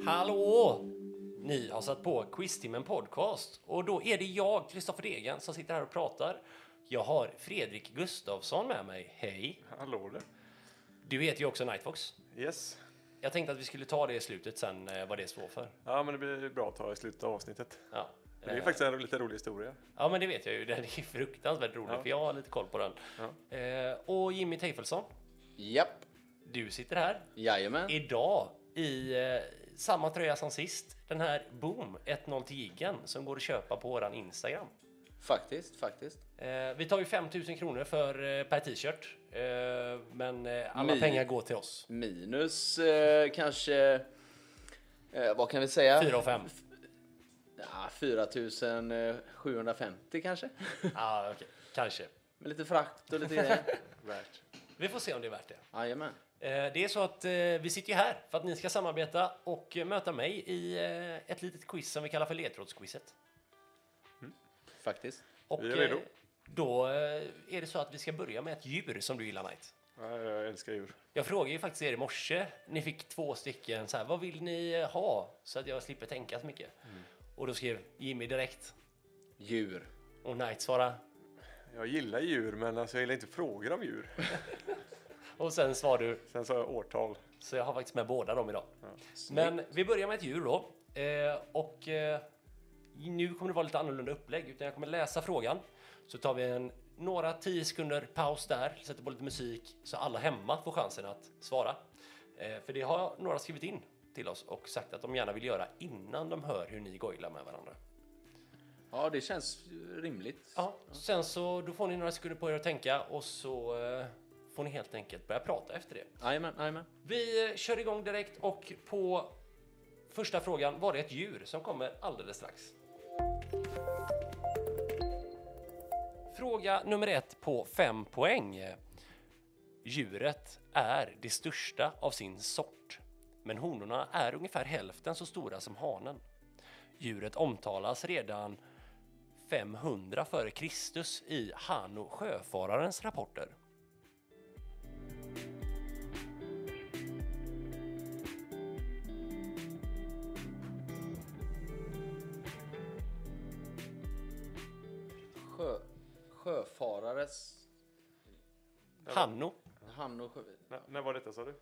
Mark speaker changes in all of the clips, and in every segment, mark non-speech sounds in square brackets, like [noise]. Speaker 1: Hallå! Ni har satt på Quiztimmen Podcast och då är det jag, Kristoffer Degen, som sitter här och pratar. Jag har Fredrik Gustafsson med mig. Hej!
Speaker 2: Hallå där.
Speaker 1: Du heter ju också Nightfox.
Speaker 2: Yes.
Speaker 1: Jag tänkte att vi skulle ta det i slutet sen, eh, vad det står för.
Speaker 2: Ja, men det blir bra att ta i slutet av avsnittet.
Speaker 1: Ja.
Speaker 2: Det är
Speaker 1: Eh,
Speaker 2: ju faktiskt en lite rolig historia.
Speaker 1: Ja, men det vet jag ju. Den är fruktansvärt rolig,
Speaker 2: Ja.
Speaker 1: för jag har lite koll på den.
Speaker 2: Ja.
Speaker 1: Eh, och Jimmy Teifelsson,
Speaker 3: Japp,
Speaker 1: du sitter här
Speaker 3: jajamän.
Speaker 1: idag i eh, samma tröja som sist. Den här Boom 1-0 till jiggen som går att köpa på våran Instagram.
Speaker 3: Faktiskt, faktiskt.
Speaker 1: Eh, vi tar ju 5 000 kronor för, eh, per t-shirt, eh, men eh, alla
Speaker 3: Min.
Speaker 1: pengar går till
Speaker 2: [laughs]
Speaker 1: oss.
Speaker 3: Minus eh, kanske, eh, vad kan vi säga?
Speaker 1: 4 och 5.
Speaker 3: Ja, 4750 kanske.
Speaker 1: ah, okej. Kanske.
Speaker 3: Med lite frakt och lite
Speaker 1: [laughs]
Speaker 3: grejer.
Speaker 2: Värt.
Speaker 1: Vi får se om det är värt det.
Speaker 3: Jajamän.
Speaker 1: Eh, det är så att eh, vi sitter ju här för att ni ska samarbeta och eh, möta mig i eh, ett litet quiz som vi kallar för ledtrådsquizet.
Speaker 3: Faktiskt.
Speaker 1: Och
Speaker 2: Vi är redo.
Speaker 1: eh, då eh, är det så att vi ska börja med ett djur som du gillar, Knight.
Speaker 2: Ja, jag älskar djur.
Speaker 1: Jag frågade ju faktiskt er i morse. Ni fick två stycken så här, vad vill ni eh, ha? Så att jag slipper tänka så mycket.
Speaker 2: Mm.
Speaker 1: Och då skrev Jimmy direkt.
Speaker 3: Djur.
Speaker 1: Och Knight svarade.
Speaker 2: Jag gillar djur, men alltså, jag gillar inte frågor om djur.
Speaker 1: Och sen svarade du.
Speaker 2: Sen sa jag årtal.
Speaker 1: Så jag har faktiskt med båda dem idag.
Speaker 3: Snyggt.
Speaker 1: Men vi börjar med ett djur då. Eh, och eh, nu kommer det vara lite annorlunda upplägg. Utan jag kommer läsa frågan. Så tar vi en några 10 sekunder paus där. Sätter på lite musik. Så alla hemma får chansen att svara. Eh, för det har några skrivit in till oss och sagt att de gärna vill göra innan de hör hur ni googlar med varandra.
Speaker 3: Ja, det känns rimligt.
Speaker 1: Ja, sen så då får ni några sekunder på er att tänka och så eh, får ni helt enkelt börja prata efter det.
Speaker 3: Jajamän, jajamän.
Speaker 1: Vi eh, kör igång direkt och på första frågan var det ett djur som kommer alldeles strax. Fråga nummer ett på fem poäng. Djuret är det största av sin sort, men honorna är ungefär hälften så stora som hanen. Djuret omtalas redan 500 före Kristus i Hanno sjöfararens rapporter.
Speaker 3: Sjö, sjöfarares
Speaker 1: Hanno
Speaker 3: hamn och sjö...
Speaker 2: N- när var detta sa du?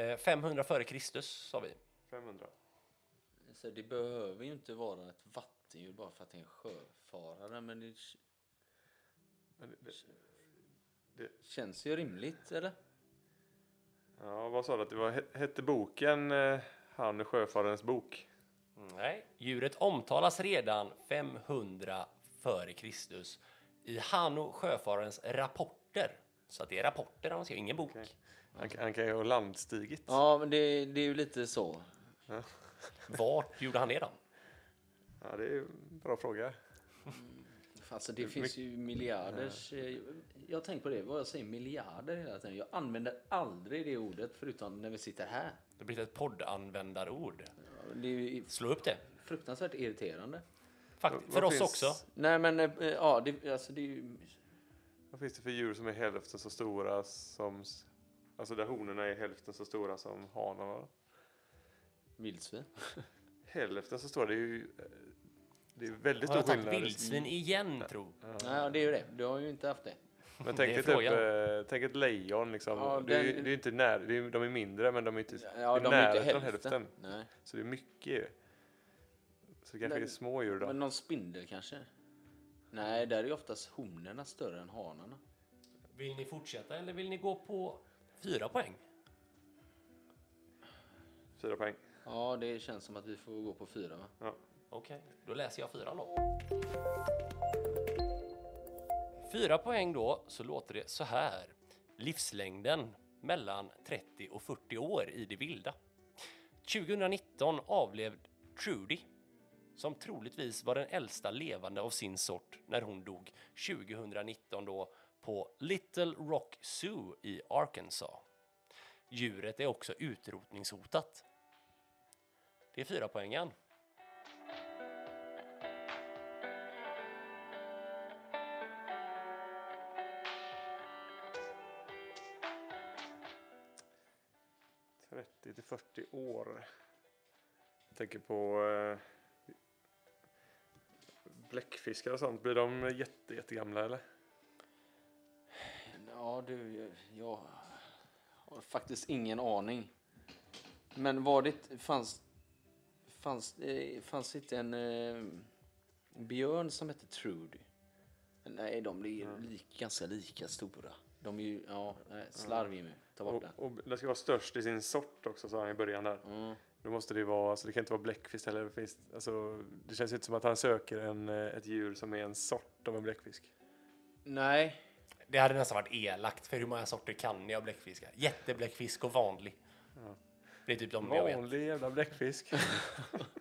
Speaker 1: Eh, 500 före Kristus sa vi.
Speaker 2: 500?
Speaker 3: Så det behöver ju inte vara ett vattendjur bara för att det är en sjöfarare. Men det k-
Speaker 2: Men det- det-
Speaker 3: känns ju rimligt, eller?
Speaker 2: Ja, vad sa du att det var? He- Hette boken eh, Han och sjöfararens bok?
Speaker 1: Nej. Djuret omtalas redan 500 före Kristus i Hanno sjöfararens rapporter. Så att det är rapporter han skriver, ingen bok.
Speaker 2: Okej. Han, han kan ju ha landstigit.
Speaker 3: Ja, men det, det är ju lite så.
Speaker 1: Vart gjorde han det då?
Speaker 2: Ja, det är ju en bra fråga.
Speaker 3: Alltså det finns ju miljarders... eh, Jag har tänkt på det, vad jag säger miljarder hela tiden. Jag använder aldrig det ordet förutom när vi sitter här.
Speaker 1: Det blir ett poddanvändarord.
Speaker 3: Ja, Det är ju
Speaker 1: Slå upp det.
Speaker 3: fruktansvärt irriterande.
Speaker 1: Fakt,
Speaker 2: Vad
Speaker 1: för oss
Speaker 2: finns-
Speaker 1: också.
Speaker 3: Nej men eh, ja, det, alltså det är ju...
Speaker 2: Vad finns det för djur som är hälften så stora som... s- Alltså där honorna är hälften så stora som hanarna?
Speaker 3: Vildsvin.
Speaker 2: Hälften så stora, det är ju... eh, Det är väldigt
Speaker 1: Har
Speaker 2: stor
Speaker 1: jag tagit
Speaker 2: skillnad.
Speaker 1: vildsvin igen tro?
Speaker 3: Nej, ja, det är ju det. Du har ju inte haft det.
Speaker 2: Men
Speaker 1: Det är
Speaker 2: tänk dig typ,
Speaker 1: frågan.
Speaker 2: eh, tänk ett lejon liksom.
Speaker 3: Ja,
Speaker 2: det, är, ju-
Speaker 3: den-
Speaker 2: det är inte när, det är, de är mindre men de är inte
Speaker 3: Ja,
Speaker 2: det är
Speaker 3: de är ju
Speaker 2: nära
Speaker 3: inte
Speaker 2: hälften.
Speaker 3: hälften.
Speaker 2: hälften.
Speaker 3: Nej.
Speaker 2: Så det är mycket ju. Så det kanske
Speaker 3: Men-
Speaker 2: är små djur då.
Speaker 3: Men någon spindel kanske? Nej, där är ju oftast honorna större än hanarna.
Speaker 1: Vill ni fortsätta eller vill ni gå på fyra poäng?
Speaker 2: Fyra poäng.
Speaker 3: Ja, det känns som att vi får gå på fyra va?
Speaker 2: Ja.
Speaker 1: Okej, då läser jag fyran då. Fyra poäng då, så låter det så här. Livslängden mellan 30 och 40 år i det vilda. 2019 avled Trudy, som troligtvis var den äldsta levande av sin sort när hon dog 2019 då på Little Rock Zoo i Arkansas. Djuret är också utrotningshotat. Det är fyra poängen.
Speaker 2: till 40 år. tänker på eh, bläckfiskar och sånt. Blir de jätte, jättegamla eller?
Speaker 3: Ja, du, jag- jag har faktiskt ingen aning. Men var det, fanns, fanns, eh, fanns det inte en eh, björn som hette Trudy? Nej, de blir lik, ganska lika stora. De är ju, ja, nej, slarv Jimmy. Ta bort
Speaker 2: Och,
Speaker 3: den.
Speaker 2: och den ska vara störst i sin sort också sa han i början där.
Speaker 3: Mm.
Speaker 2: Då måste det vara, alltså det kan inte vara bläckfisk heller. Det, finns, alltså, det känns ju inte som att han söker en, eh, ett djur som är en sort av en bläckfisk.
Speaker 3: Nej,
Speaker 1: Det hade nästan varit elakt, för hur många sorter kan ni av bläckfiskar? Jättebläckfisk och vanlig. Det är typ de jag vet.
Speaker 2: Vanlig jävla bläckfisk.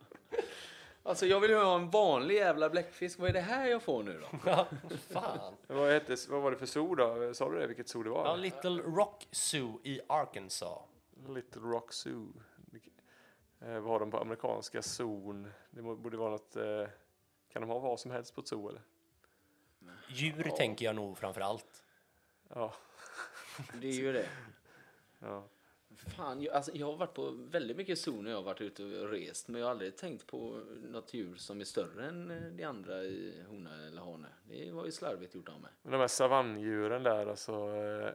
Speaker 2: [laughs]
Speaker 3: alltså jag vill ju ha en vanlig jävla bläckfisk. Vad är det här jag får nu då?
Speaker 1: Ja, Fan.
Speaker 2: vad, hette, vad var det för zoo då? Sa du det? Vilket zoo det var?
Speaker 1: Ja, Little Rock Zoo i Arkansas.
Speaker 2: Little Rock Zoo. Eh, vad har de på amerikanska zon? Det må- borde vara något... Eh, kan de ha vad som helst på ett zoo eller?
Speaker 1: Djur tänker jag nog framför allt.
Speaker 2: Ja.
Speaker 3: Det är ju det.
Speaker 2: ja.
Speaker 3: Fan, jag, alltså, jag har varit på väldigt mycket zoo när jag har varit ute och rest men jag har aldrig tänkt på något djur som är större än eh, det andra i hona eller hane. Det var ju slarvigt gjort av mig.
Speaker 2: Men de här savanndjuren där alltså. Eh,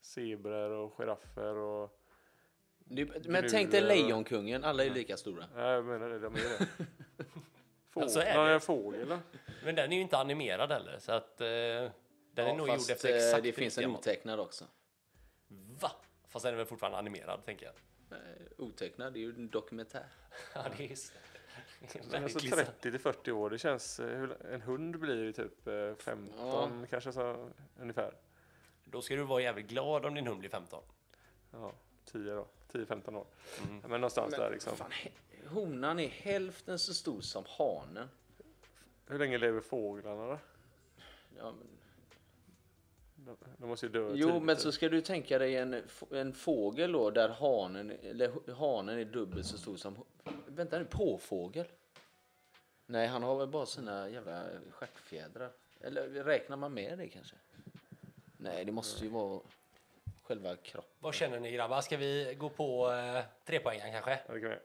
Speaker 2: zebror och giraffer och...
Speaker 3: Det, men
Speaker 2: Druvor.
Speaker 3: tänk dig Lejonkungen, alla är lika stora.
Speaker 2: Nej, jag menar det. De är det.
Speaker 1: [laughs] Ja,
Speaker 2: Fågel,
Speaker 1: så är
Speaker 2: nej,
Speaker 1: det.
Speaker 2: en fågel då?
Speaker 1: Men den är ju inte animerad heller, så att eh, den
Speaker 3: Ja,
Speaker 1: är nog
Speaker 3: fast,
Speaker 1: gjord efter
Speaker 3: eh,
Speaker 1: exakt
Speaker 3: det finns en
Speaker 1: likadan.
Speaker 3: otecknad också.
Speaker 1: Va? Fast den är väl fortfarande animerad, tänker jag. [laughs]
Speaker 3: Eh, otecknad, det är ju en dokumentär.
Speaker 1: Ja, det är just det.
Speaker 2: Men alltså
Speaker 1: Verkligen.
Speaker 2: 30 till 40 år, det känns... eh, hur- En hund blir ju typ eh, 15 kanske så, ungefär.
Speaker 1: Då ska du vara jävligt glad om din hund blir 15.
Speaker 2: Ja, 10 då. 10-15 år.
Speaker 1: Mm.
Speaker 2: Men någonstans där liksom.
Speaker 3: Fan, he- honan är hälften så stor som hanen.
Speaker 2: Hur länge lever fåglarna då?
Speaker 3: Ja, men,
Speaker 2: De, de måste ju dö
Speaker 3: jo,
Speaker 2: tidigt,
Speaker 3: men
Speaker 2: typ.
Speaker 3: så ska du tänka dig en, f- en fågel då där hanen, eller hanen är dubbelt så stor som... Vänta nu, påfågel? Nej, han har väl bara sina jävla stjärtfjädrar. Eller räknar man med det kanske? Nej, det måste ju vara själva kroppen.
Speaker 1: Vad känner ni grabbar? Ska vi gå på eh, trepoängaren kanske?
Speaker 2: Ja, det kan vi.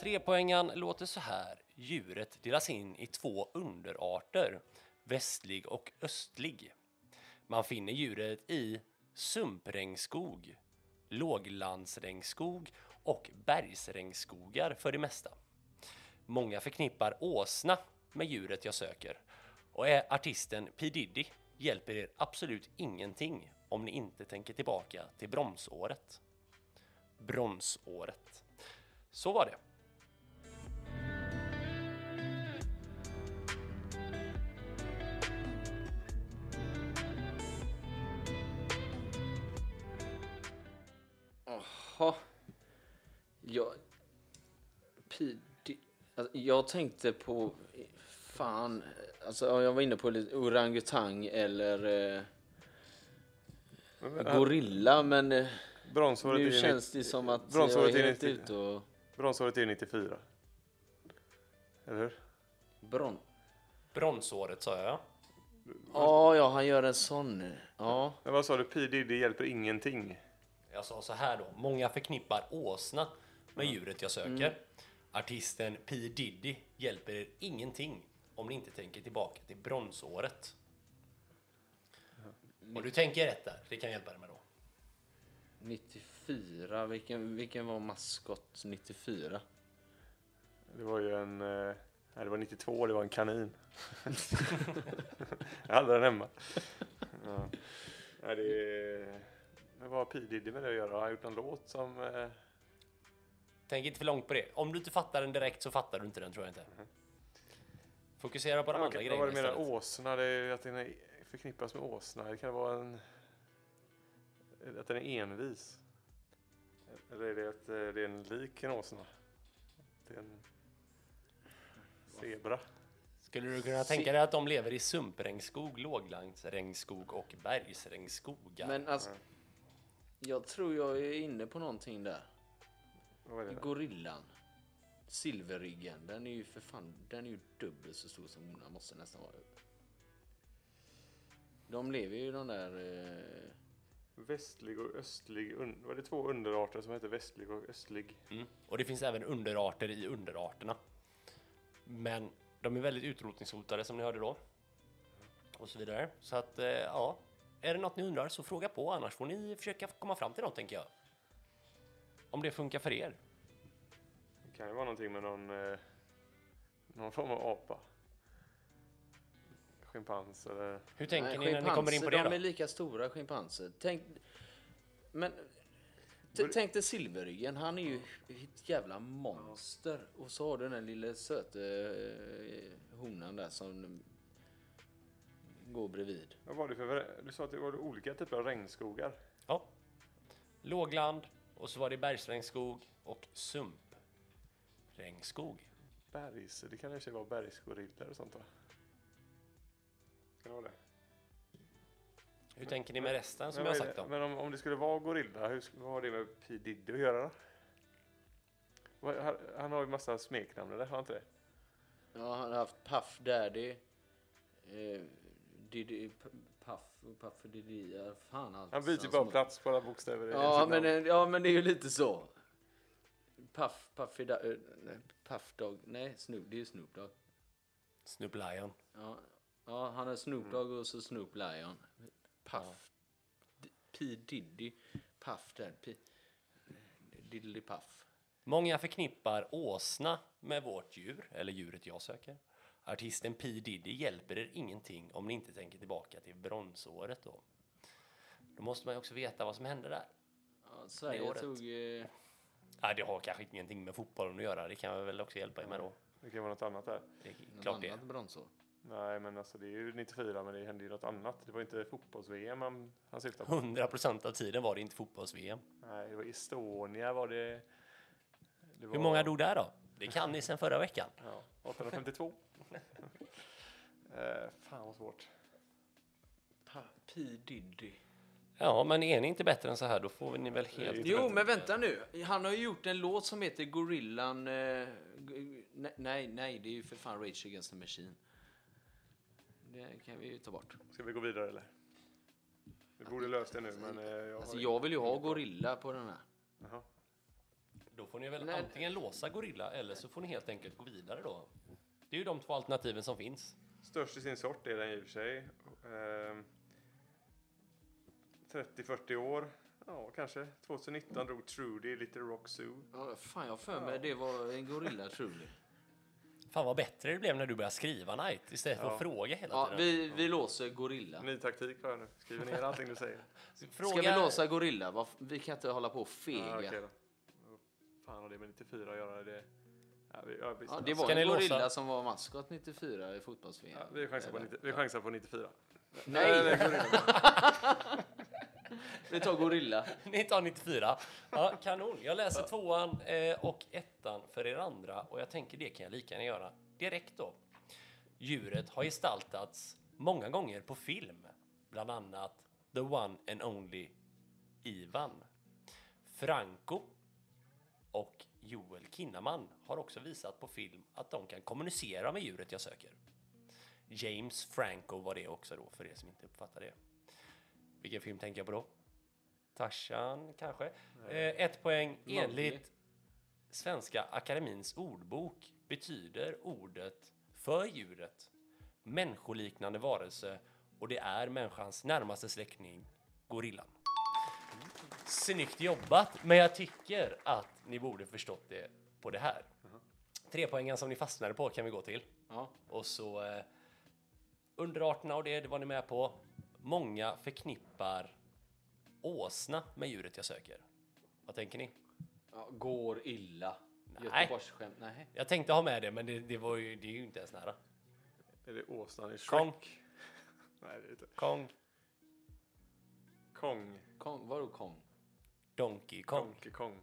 Speaker 1: Trepoängaren låter så här. Djuret delas in i två underarter, västlig och östlig. Man finner djuret i sumpregnskog, låglandsregnskog och bergsregnskogar för det mesta. Många förknippar åsna med djuret jag söker och är artisten P Diddy hjälper er absolut ingenting om ni inte tänker tillbaka till bronsåret. Bronsåret. Så var det.
Speaker 3: Jaha. Jag... Pi- di- alltså, Jag tänkte på... Fan. Alltså, ja, jag var inne på lite orangutang eller eh,
Speaker 2: Men, men, här,
Speaker 3: gorilla, men eh,
Speaker 2: bronsåret,
Speaker 3: nu
Speaker 2: är ju
Speaker 3: känns det som att jag
Speaker 2: bronsåret
Speaker 3: är
Speaker 2: är
Speaker 3: helt
Speaker 2: 90.
Speaker 3: ute och...
Speaker 2: nitt- bronsåret är ju 94. Eller hur?
Speaker 3: Bron...
Speaker 1: Bronsåret sa jag.
Speaker 3: Ja, ja, han gör en sån. Ja.
Speaker 2: Men vad sa du? P Diddy hjälper ingenting.
Speaker 1: Jag sa så här då. Många förknippar åsna med djuret jag söker.
Speaker 2: Mm.
Speaker 1: Artisten P Diddy hjälper er ingenting om ni inte tänker tillbaka till bronsåret. Och du tänker rätt där. Det kan jag hjälpa dig med då.
Speaker 3: 94. Vilken, vilken var maskot 94?
Speaker 2: Det var ju en... eh, Nej, det var 92, det var en kanin. [laughs] jag hade den hemma. Ja. Nej, det är... Men vad har P Diddy med det att göra? Har han gjort någon låt som... eh,
Speaker 1: Tänk inte för långt på det. Om du inte fattar den direkt så fattar du inte den tror jag inte. Fokusera på de andra
Speaker 2: Mm-hmm. Okej, vad
Speaker 1: grejerna
Speaker 2: var det med
Speaker 1: istället.
Speaker 2: åsna? Det är ju att den är förknippas med åsna. Det kan vara en... Att den är envis. Eller är det att eh, det är en lik en åsna? Det är en zebra.
Speaker 1: Skulle du kunna tänka dig att de lever i sumpregnskog, låglandsregnskog och bergsregnskogar?
Speaker 3: Men alltså... Jag tror jag är inne på någonting där.
Speaker 2: Vad var det? då?
Speaker 3: Gorillan. Silverryggen. Den är ju för fan, den är ju dubbelt så stor som honan måste nästan vara. De lever ju i de där... Eh,
Speaker 2: Västlig och östlig. Un- var det två underarter som heter västlig och östlig?
Speaker 1: Mm. Och det finns även underarter i underarterna. Men de är väldigt utrotningshotade som ni hörde då. Och så vidare. Så att eh, ja, är det något ni undrar så fråga på annars får ni försöka komma fram till något tänker jag. Om det funkar för er.
Speaker 2: Det kan ju vara någonting med någon, eh, någon form av apa. Schimpans eller...
Speaker 1: Hur tänker
Speaker 3: Nej,
Speaker 1: ni när ni kommer in på det
Speaker 3: schimpanser,
Speaker 1: då?
Speaker 3: De är lika stora schimpanser. Tänk, men, t- tänk dig silverryggen, han är ju ett jävla monster. Och så har du den där lilla söta eh, honan där som går bredvid.
Speaker 2: Vad var det för... vä- Du sa att det var olika typer av regnskogar.
Speaker 1: Ja. Lågland och så var det bergsregnskog och sumpregnskog.
Speaker 2: Bergs... Det kan kanske vara bergsgorillor och sånt va? Kan det vara det?
Speaker 1: Hur tänker ni med resten som jag
Speaker 2: men,
Speaker 1: har
Speaker 2: vad är
Speaker 1: sagt
Speaker 2: det-
Speaker 1: om?
Speaker 2: men om, om det skulle vara gorilla, hur, sk- vad har det med P Diddy att göra då? Vad- Han, han har ju massa smeknamn eller? Har han inte det?
Speaker 3: Ja, han har haft Puff Daddy. Eh, Diddy, P- Puff, Puff Diddy, ja, fan allt.
Speaker 2: Han byter ju
Speaker 3: som-
Speaker 2: bara plats på alla bokstäver i
Speaker 3: Ja
Speaker 2: sitt
Speaker 3: men,
Speaker 2: namn.
Speaker 3: eh, ja, men det är ju lite så. Puff, Puffy, da, eh, nej, Puff Dog, nej, Snoop, det är ju Snoop Dogg.
Speaker 1: Snoop Lion.
Speaker 3: Ja, ja han är Snoop Dogg och så Snoop Lion. Puff, D- P Diddy, Puff där, P, Diddly Puff.
Speaker 1: Många förknippar åsna med vårt djur, eller djuret jag söker. Artisten P Diddy hjälper er ingenting om ni inte tänker tillbaka till bronsåret då. Då måste man ju också veta vad som hände där.
Speaker 3: Ja,
Speaker 1: Det är
Speaker 3: Sverige
Speaker 1: året.
Speaker 3: tog... Eh,
Speaker 1: Nej, det har kanske ingenting med fotbollen att göra, det kan jag väl också hjälpa er med då.
Speaker 2: Det kan vara något annat där.
Speaker 1: Det är
Speaker 3: något
Speaker 1: klart det.
Speaker 3: annat bronsår.
Speaker 2: Nej men alltså det är ju 94 men det hände ju något annat. Det var inte fotbolls-VM han, han syftade på.
Speaker 1: 100 procent av tiden var det inte fotbolls-VM.
Speaker 2: Nej det var Estonia var det. det var,
Speaker 1: Hur många dog där då? Det kan ni sen förra veckan.
Speaker 2: Ja,
Speaker 1: [laughs]
Speaker 2: 852. eh, fan vad svårt.
Speaker 3: Pa- P Diddy.
Speaker 1: Ja, men är ni inte bättre än så här, då får ni väl helt...
Speaker 2: Jo,
Speaker 3: Jo, men vänta nu. Han har ju gjort en låt som heter Gorillan... Eh, g- nej, nej, nej, det är ju för fan Rage Against the Machine. Det kan vi ju ta bort.
Speaker 2: Ska vi gå vidare eller? Vi borde löst det nu men... Eh, jag
Speaker 3: Alltså,
Speaker 2: har-
Speaker 3: jag vill ju ha Gorilla på den här.
Speaker 2: Jaha.
Speaker 1: Då får ni väl
Speaker 3: Nej.
Speaker 1: antingen låsa Gorilla eller så får ni helt enkelt gå vidare då. Det är ju de två alternativen som finns.
Speaker 2: Störst i sin sort är den i och för sig. Ehm, 30-40 år. Ja, kanske. 2019 drog Trudy Little Rock Zoo.
Speaker 3: Ja, Fan, jag har för mig det var en
Speaker 2: [laughs]
Speaker 3: gorilla truly.
Speaker 1: Fan vad bättre det blev när du började skriva Knight istället för att
Speaker 2: Ja.
Speaker 1: fråga hela
Speaker 3: Ja,
Speaker 1: tiden.
Speaker 3: vi, vi låser gorilla.
Speaker 2: Ny taktik har jag nu. Skriver ner allting du säger.
Speaker 1: Fråga...
Speaker 3: Ska vi låsa gorilla? Varf- Vi kan inte hålla på och
Speaker 2: Ja, okej
Speaker 3: fega.
Speaker 2: då. Vad Fan har det med 94 att göra? Det, ja, vi, ja, visst.
Speaker 3: Ja, det var
Speaker 1: Ska ni
Speaker 3: en
Speaker 1: låsa?
Speaker 3: gorilla som var maskot 94 i fotbolls
Speaker 2: Ja, vi, chansar på 90, vi chansar på 94.
Speaker 3: Nej,
Speaker 2: gorilla.
Speaker 3: [laughs] vi tar gorilla.
Speaker 1: [laughs] Ni tar 94. Ja, kanon. Jag läser tvåan eh, och ettan för er andra och jag tänker det kan jag lika gärna göra direkt då. Djuret har gestaltats många gånger på film, bland annat The One and Only Ivan. Franco och Joel Kinnaman har också visat på film att de kan kommunicera med djuret jag söker. James Franco var det också då, för er som inte uppfattar det. Vilken film tänker jag på då? Tarzan kanske? Eh, ett poäng. Enligt Svenska Akademins ordbok betyder ordet för djuret människoliknande varelse och det är människans närmaste släkting, gorillan. Snyggt jobbat, men jag tycker att ni borde förstått det på det här. Trepoängen som ni fastnade på kan vi gå till.
Speaker 3: Ja.
Speaker 1: Och så eh, underarterna och det, det var ni med på. Många förknippar åsna med djuret jag söker. Vad tänker ni?
Speaker 3: Ja, går illa.
Speaker 1: Nej.
Speaker 3: Göteborgsskämt. Nej.
Speaker 1: Jag tänkte ha med det, men det, det, var ju, det är ju inte ens nära.
Speaker 2: Är det åsnan i Shrek?
Speaker 1: Kong.
Speaker 2: Nej, det är inte.
Speaker 1: Kong,
Speaker 2: Kong.
Speaker 3: Kong, vadå Kong?
Speaker 1: Donkey Kong.
Speaker 2: Donkey Kong.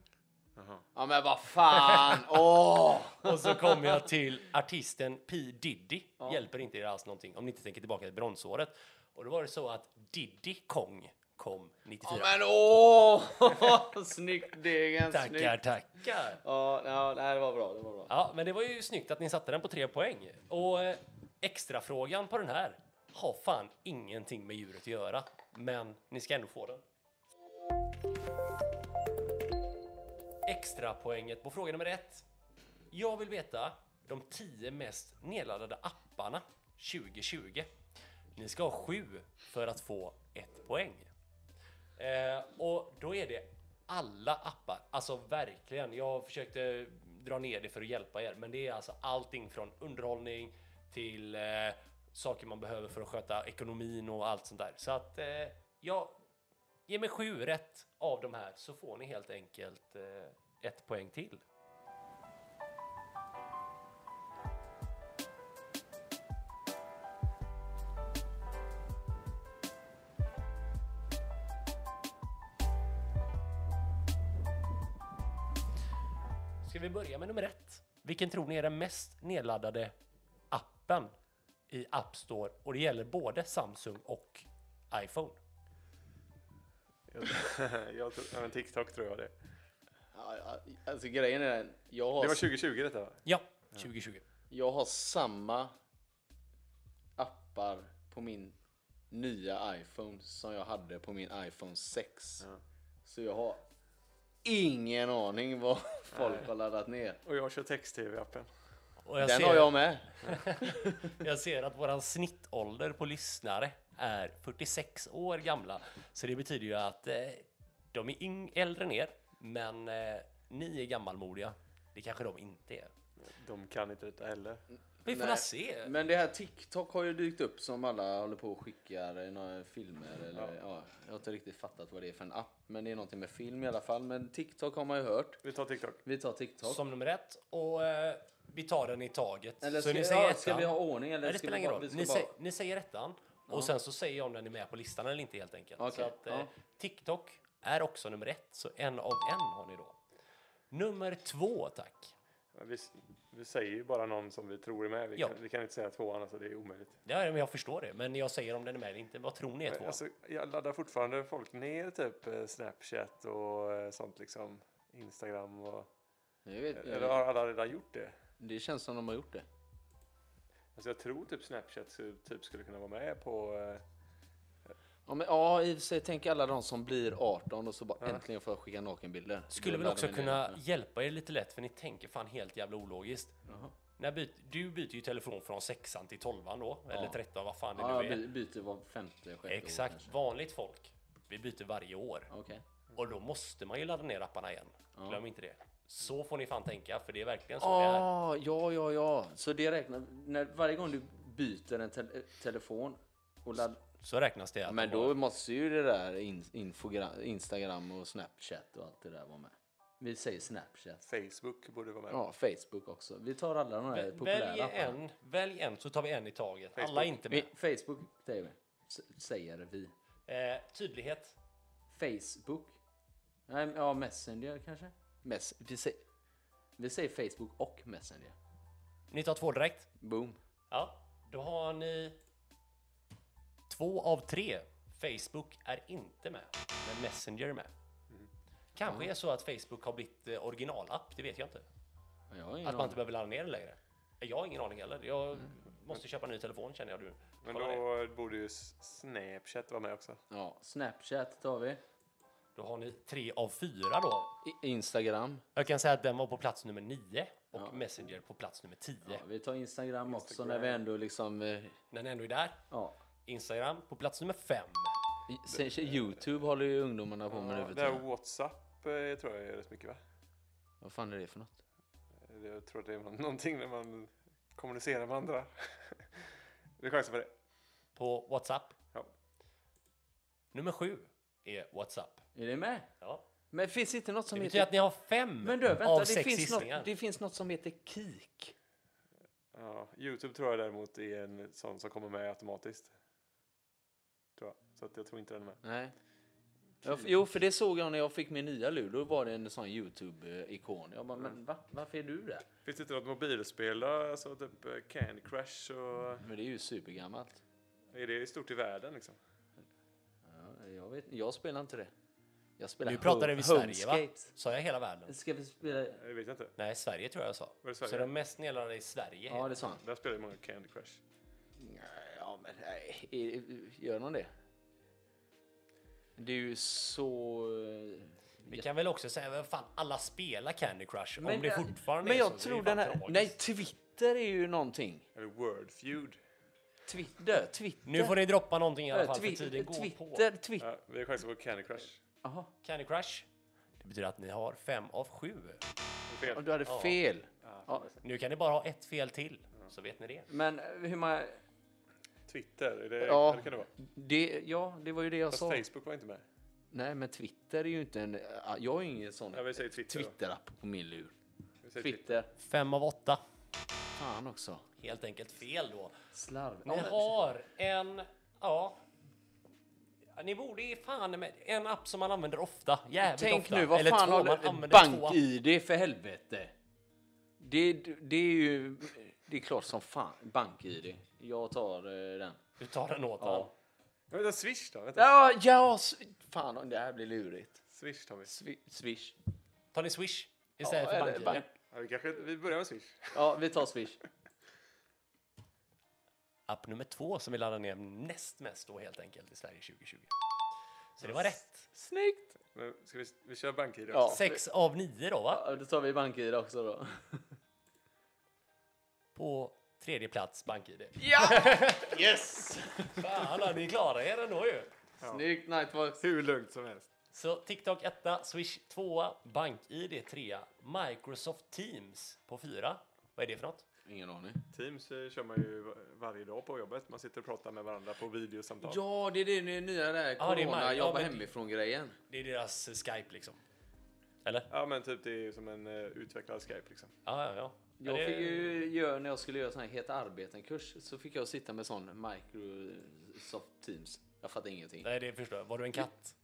Speaker 2: Jaha. [laughs]
Speaker 3: Ja men vad
Speaker 1: [laughs]
Speaker 3: fan! Åh!
Speaker 1: Och så kommer jag till artisten P Diddy. Hjälper inte er alls någonting om ni inte tänker tillbaka till bronsåret. Och då var det så att Diddy Kong kom 94.
Speaker 3: Ja men åh! [laughs] Snyggt Degen,
Speaker 1: tackar,
Speaker 3: snyggt!
Speaker 1: tackar.
Speaker 3: Ja, ja, det här var bra, det var bra.
Speaker 1: Ja, men det var ju snyggt att ni satte den på tre poäng. Och eh, extrafrågan på den här har fan ingenting med djuret att göra, men ni ska ändå få den. extra poänget på fråga nummer ett. Jag vill veta de 10 mest nedladdade apparna 2020. Ni ska ha sju för att få ett poäng. Eh, och då är det alla appar, alltså verkligen. Jag försökte dra ner det för att hjälpa er, men det är alltså allting från underhållning till eh, saker man behöver för att sköta ekonomin och allt sånt där. Så att eh, jag Ge mig sju rätt av de här så får ni helt enkelt eh, ett poäng till. Ska vi börja med nummer ett? Vilken tror ni är den mest nedladdade appen i App Store? Och det gäller både Samsung och iPhone.
Speaker 2: Jag, jag tror, ja, men TikTok tror jag det.
Speaker 3: Ja, ja, Alltså grejen är den, jag har,
Speaker 2: Det var 2020 detta va?
Speaker 1: Ja, 2020.
Speaker 3: jag har samma appar på min nya iPhone som jag hade på min iPhone 6.
Speaker 2: Ja.
Speaker 3: Så jag har ingen aning vad [laughs] folk
Speaker 2: Nej.
Speaker 3: har laddat ner.
Speaker 2: Och jag kör text-tv-appen.
Speaker 1: Och jag
Speaker 3: Den
Speaker 1: ser-
Speaker 3: har jag med.
Speaker 1: Jag ser att våran snittålder på lyssnare är 46 år gamla, så det betyder ju att eh, de är yng- äldre än er, men eh, ni är gammalmodiga. Det kanske de inte är.
Speaker 2: De kan inte detta heller.
Speaker 1: Vi får
Speaker 3: Nej,
Speaker 1: väl se.
Speaker 3: Men det här TikTok har ju dykt upp som alla håller på och skickar eh, några filmer eller ja. jag har inte riktigt fattat vad det är för en app. Men det är någonting med film i alla fall. Men TikTok har man ju hört.
Speaker 2: Vi tar TikTok.
Speaker 3: Vi tar TikTok.
Speaker 1: Som nummer ett och eh, vi tar den i taget.
Speaker 3: eller
Speaker 1: så
Speaker 3: ska,
Speaker 1: ni säger
Speaker 3: ja, ska
Speaker 1: ettan.
Speaker 3: vi ha ordning eller
Speaker 1: Nej, det
Speaker 3: ska
Speaker 1: spelar
Speaker 3: vi
Speaker 1: ingen
Speaker 3: bara,
Speaker 1: roll.
Speaker 3: vi ska
Speaker 1: Ni,
Speaker 3: bara...
Speaker 1: sä- ni säger ettan och sen så säger jag om den är med på listan eller inte helt enkelt. Så
Speaker 3: Okej,
Speaker 1: att, eh,
Speaker 3: ja.
Speaker 1: TikTok är också nummer ett, så en av en har ni då. Nummer två, tack.
Speaker 2: Ja, Vi, vi säger ju bara någon som vi tror är med. Vi,
Speaker 1: Ja.
Speaker 2: kan, vi kan inte säga tvåan, alltså det är omöjligt.
Speaker 1: Ja, men jag förstår det, men jag säger om den är med eller inte. Vad tror ni är
Speaker 2: Men,
Speaker 1: tvåan?
Speaker 2: alltså, jag laddar fortfarande folk ner typ eh, Snapchat och eh, sånt liksom. Instagram och...
Speaker 3: Jag vet,
Speaker 2: Eller har alla redan gjort det?
Speaker 3: Det känns som de har gjort det.
Speaker 2: Alltså jag tror typ Snapchat så- typ skulle kunna vara med på... eh,
Speaker 3: Ja, men, ja i och för sig, tänk alla de som blir 18 och så bara äntligen får jag skicka nakenbilder.
Speaker 1: Skulle
Speaker 3: Då
Speaker 1: väl
Speaker 3: laddar
Speaker 1: också
Speaker 3: vi ner
Speaker 1: kunna
Speaker 3: appen.
Speaker 1: hjälpa er lite lätt, för ni tänker fan helt jävla ologiskt.
Speaker 3: Jaha.
Speaker 1: När byt, du byter ju telefon från sexan till tolvan då, eller tretton, vad fan det
Speaker 3: Ja,
Speaker 1: nu
Speaker 3: jag
Speaker 1: är.
Speaker 3: by- byter var femte, sjätte
Speaker 1: Exakt,
Speaker 3: år kanske.
Speaker 1: vanligt folk. Vi byter varje år.
Speaker 3: Okej.
Speaker 1: Och då måste man ju ladda ner apparna igen. Glöm inte det. Så får ni fan tänka, för det är verkligen så det är.
Speaker 3: Ah, ja, ja, ja. Så det räknar... När, varje gång du byter en tel- telefon och laddar...
Speaker 1: Så räknas det. Att
Speaker 3: Men
Speaker 1: det var-
Speaker 3: då måste ju det där in, infogra, Instagram och Snapchat och allt det där vara med. Vi säger Snapchat.
Speaker 2: Facebook borde vara med.
Speaker 3: Ja, Facebook också. Vi tar alla de här populära
Speaker 1: Välj
Speaker 3: apparna.
Speaker 1: en, välj en så tar vi en i taget. Alla
Speaker 2: Facebook.
Speaker 1: är inte med.
Speaker 3: Vi, Facebook säger vi. S- säger vi.
Speaker 1: Eh, tydlighet.
Speaker 3: Facebook? Nej, men- ja, Messenger kanske? Mess vi, säger, vi säger Facebook och Messenger.
Speaker 1: Ni tar två direkt.
Speaker 3: Boom.
Speaker 1: Ja, då har ni två av tre. Facebook är inte med, men Messenger är med. Kanske är så att Facebook har blivit eh, originalapp, det vet jag inte.
Speaker 3: Ja, Jag har ingen
Speaker 1: Att man
Speaker 3: aning.
Speaker 1: inte behöver ladda ner den längre. Eh, Jag har ingen aning heller. Jag måste köpa en ny telefon känner jag nu.
Speaker 2: Mm. Men
Speaker 1: Kolla det.
Speaker 2: då borde ju S- Snapchat vara med också.
Speaker 3: Ja, Snapchat tar vi.
Speaker 1: Då har ni tre av fyra då.
Speaker 3: I- Instagram.
Speaker 1: Jag kan säga att den var på plats nummer nio och Messenger på plats nummer tio.
Speaker 3: Ja, vi tar Instagram också när vi ändå liksom... eh,
Speaker 1: När ni ändå är där.
Speaker 3: Ja.
Speaker 1: Instagram på plats nummer fem.
Speaker 3: I- Sen, Youtube håller ju ungdomarna på med nu
Speaker 2: Ja,
Speaker 3: för
Speaker 2: det här
Speaker 3: tiden.
Speaker 2: Whatsapp eh, tror jag är rätt mycket va?
Speaker 3: Vad fan är det för något?
Speaker 2: Jag tror det är man- någonting när man kommunicerar med andra. [laughs] Vi chansar på det.
Speaker 1: På WhatsApp.
Speaker 2: Ja.
Speaker 1: Nummer sju är WhatsApp.
Speaker 3: Är det med?
Speaker 1: Ja.
Speaker 3: Men finns inte något som
Speaker 1: Det betyder
Speaker 3: heter...
Speaker 1: att ni har fem
Speaker 3: Men du,
Speaker 1: av
Speaker 3: vänta, det
Speaker 1: sex
Speaker 3: finns, något,
Speaker 1: gissningar.
Speaker 3: det finns något som heter Kik.
Speaker 2: Ja, Youtube tror jag däremot är en sån som kommer med automatiskt. Tror jag. Så att jag tror inte den är med.
Speaker 3: Nej. Ja, f- Jo, för det såg jag när jag fick min nya lur. Då var det en sån Youtube-ikon. Jag bara, men va? Varför är du där?
Speaker 2: Finns det inte något mobilspel då? Alltså typ eh, Candy Crush och...
Speaker 3: Men det är ju supergammalt.
Speaker 2: Är det stort i världen liksom?
Speaker 3: Ja, jag, vet, jag spelar inte det. Jag spelar
Speaker 1: Nu pratade vi Sverige va?
Speaker 3: Homescapes.
Speaker 1: Sa jag hela världen?
Speaker 3: Ska vi spela?
Speaker 2: Jag vet inte.
Speaker 1: Nej, Sverige tror jag jag sa.
Speaker 2: det Sverige?
Speaker 1: Så de mest nedladdade i Sverige.
Speaker 3: Ja, det sa han.
Speaker 2: Där spelar ju många Candy Crush.
Speaker 3: Ja, men nej. Är- Gör någon det? Det är ju så... eh,
Speaker 1: Vi kan väl också säga, vad fan, alla spelar Candy Crush om
Speaker 3: Men- eh,
Speaker 1: det fortfarande
Speaker 3: Men
Speaker 1: är
Speaker 3: jag
Speaker 1: så.
Speaker 3: tror
Speaker 1: det är
Speaker 3: den
Speaker 1: fan
Speaker 3: här...
Speaker 1: tragiskt.
Speaker 3: Nej, Twitter är ju någonting.
Speaker 2: Eller word feud.
Speaker 3: Twitter, Twitter.
Speaker 1: Nu får ni droppa någonting i alla
Speaker 3: Eh,
Speaker 1: fall för
Speaker 3: twi-
Speaker 1: tiden går
Speaker 3: Twitter,
Speaker 1: på.
Speaker 3: Twitter.
Speaker 2: Ja, vi har chansen på Candy Crush.
Speaker 3: Jaha,
Speaker 1: Candy Crush. Det betyder att ni har fem av sju.
Speaker 3: och
Speaker 2: Fel.
Speaker 3: du hade fel. Ja.
Speaker 1: Nu kan ni bara ha ett fel till, så vet ni det.
Speaker 3: Men hur man...
Speaker 2: Twitter, är det,
Speaker 3: Ja.
Speaker 2: ja. det kan det vara.
Speaker 3: Det, ja, det var ju det jag
Speaker 2: Fast
Speaker 3: sa.
Speaker 2: Facebook var inte med.
Speaker 3: Nej, men Twitter är ju inte en... ja, Jag har ju ingen sån
Speaker 2: Ja, vi säger Twitter. då.
Speaker 3: Twitter-app på min lur.
Speaker 2: Vi säger Twitter.
Speaker 3: Twitter.
Speaker 1: Fem av åtta.
Speaker 3: Fan också.
Speaker 1: Helt enkelt fel då.
Speaker 3: Slarv.
Speaker 1: Ni
Speaker 3: Ja, men-
Speaker 1: har en, ja. Ja, Ni borde i fan med en app som man använder ofta. Jävligt
Speaker 3: Tänk
Speaker 1: ofta.
Speaker 3: nu, vad
Speaker 1: Eller
Speaker 3: fan
Speaker 1: två, man
Speaker 3: har
Speaker 1: använder två appar.
Speaker 3: bank-id för helvete? Det, det är ju... Det är klart som fan. Bank-id. Jag tar eh, den.
Speaker 1: Du tar den åt
Speaker 3: Ja.
Speaker 1: honom.
Speaker 2: Ja, vänta, Swish då? Vänta.
Speaker 3: Ja, ja! s- Fan, det här blir lurigt.
Speaker 2: Swish Tommy.
Speaker 3: Swi- Swish.
Speaker 1: Tar ni Swish istället
Speaker 3: eller
Speaker 1: för
Speaker 3: bank.
Speaker 1: bank-id?
Speaker 2: Ja, vi, kanske, vi börjar med Swish.
Speaker 3: Ja, vi tar Swish.
Speaker 1: App nummer två som vi laddar ner näst mest då helt enkelt i Sverige 2020. Så det var rätt.
Speaker 3: Snyggt!
Speaker 2: Men ska vi, vi kör BankID också?
Speaker 3: Ja.
Speaker 1: Sex av nio då va?
Speaker 3: Ja, då tar vi bank-id också då.
Speaker 1: På tredje plats bank-id.
Speaker 3: Yes!
Speaker 1: Fan, ja, ni klarar er ändå ju.
Speaker 3: [laughs] Snyggt Nightbox.
Speaker 2: Hur lugnt som helst.
Speaker 1: Så TikTok 1, Swish 2, BankID 3, Microsoft Teams på 4. Vad är det för något?
Speaker 3: Ingen aning.
Speaker 2: Teams eh, kör man ju var- varje dag på jobbet. Man sitter och pratar med varandra på videosamtal.
Speaker 3: Ja, det är det nu- nya
Speaker 1: Ja,
Speaker 3: där
Speaker 1: det är
Speaker 3: corona,
Speaker 1: maj. Ja,
Speaker 3: jobba
Speaker 1: men-
Speaker 3: hemifrån-grejen.
Speaker 1: Det är deras eh, Skype liksom. Eller?
Speaker 2: Ja, men typ det är ju som en eh, utvecklad Skype liksom.
Speaker 1: Ja, ja, ja.
Speaker 3: Jag
Speaker 1: Ja, det-
Speaker 3: fick ju göra, när jag skulle göra sån här Heta arbeten-kurs, så fick jag sitta med sån Microsoft Teams. Jag fattar ingenting.
Speaker 1: Nej, det förstår jag. Var du en katt?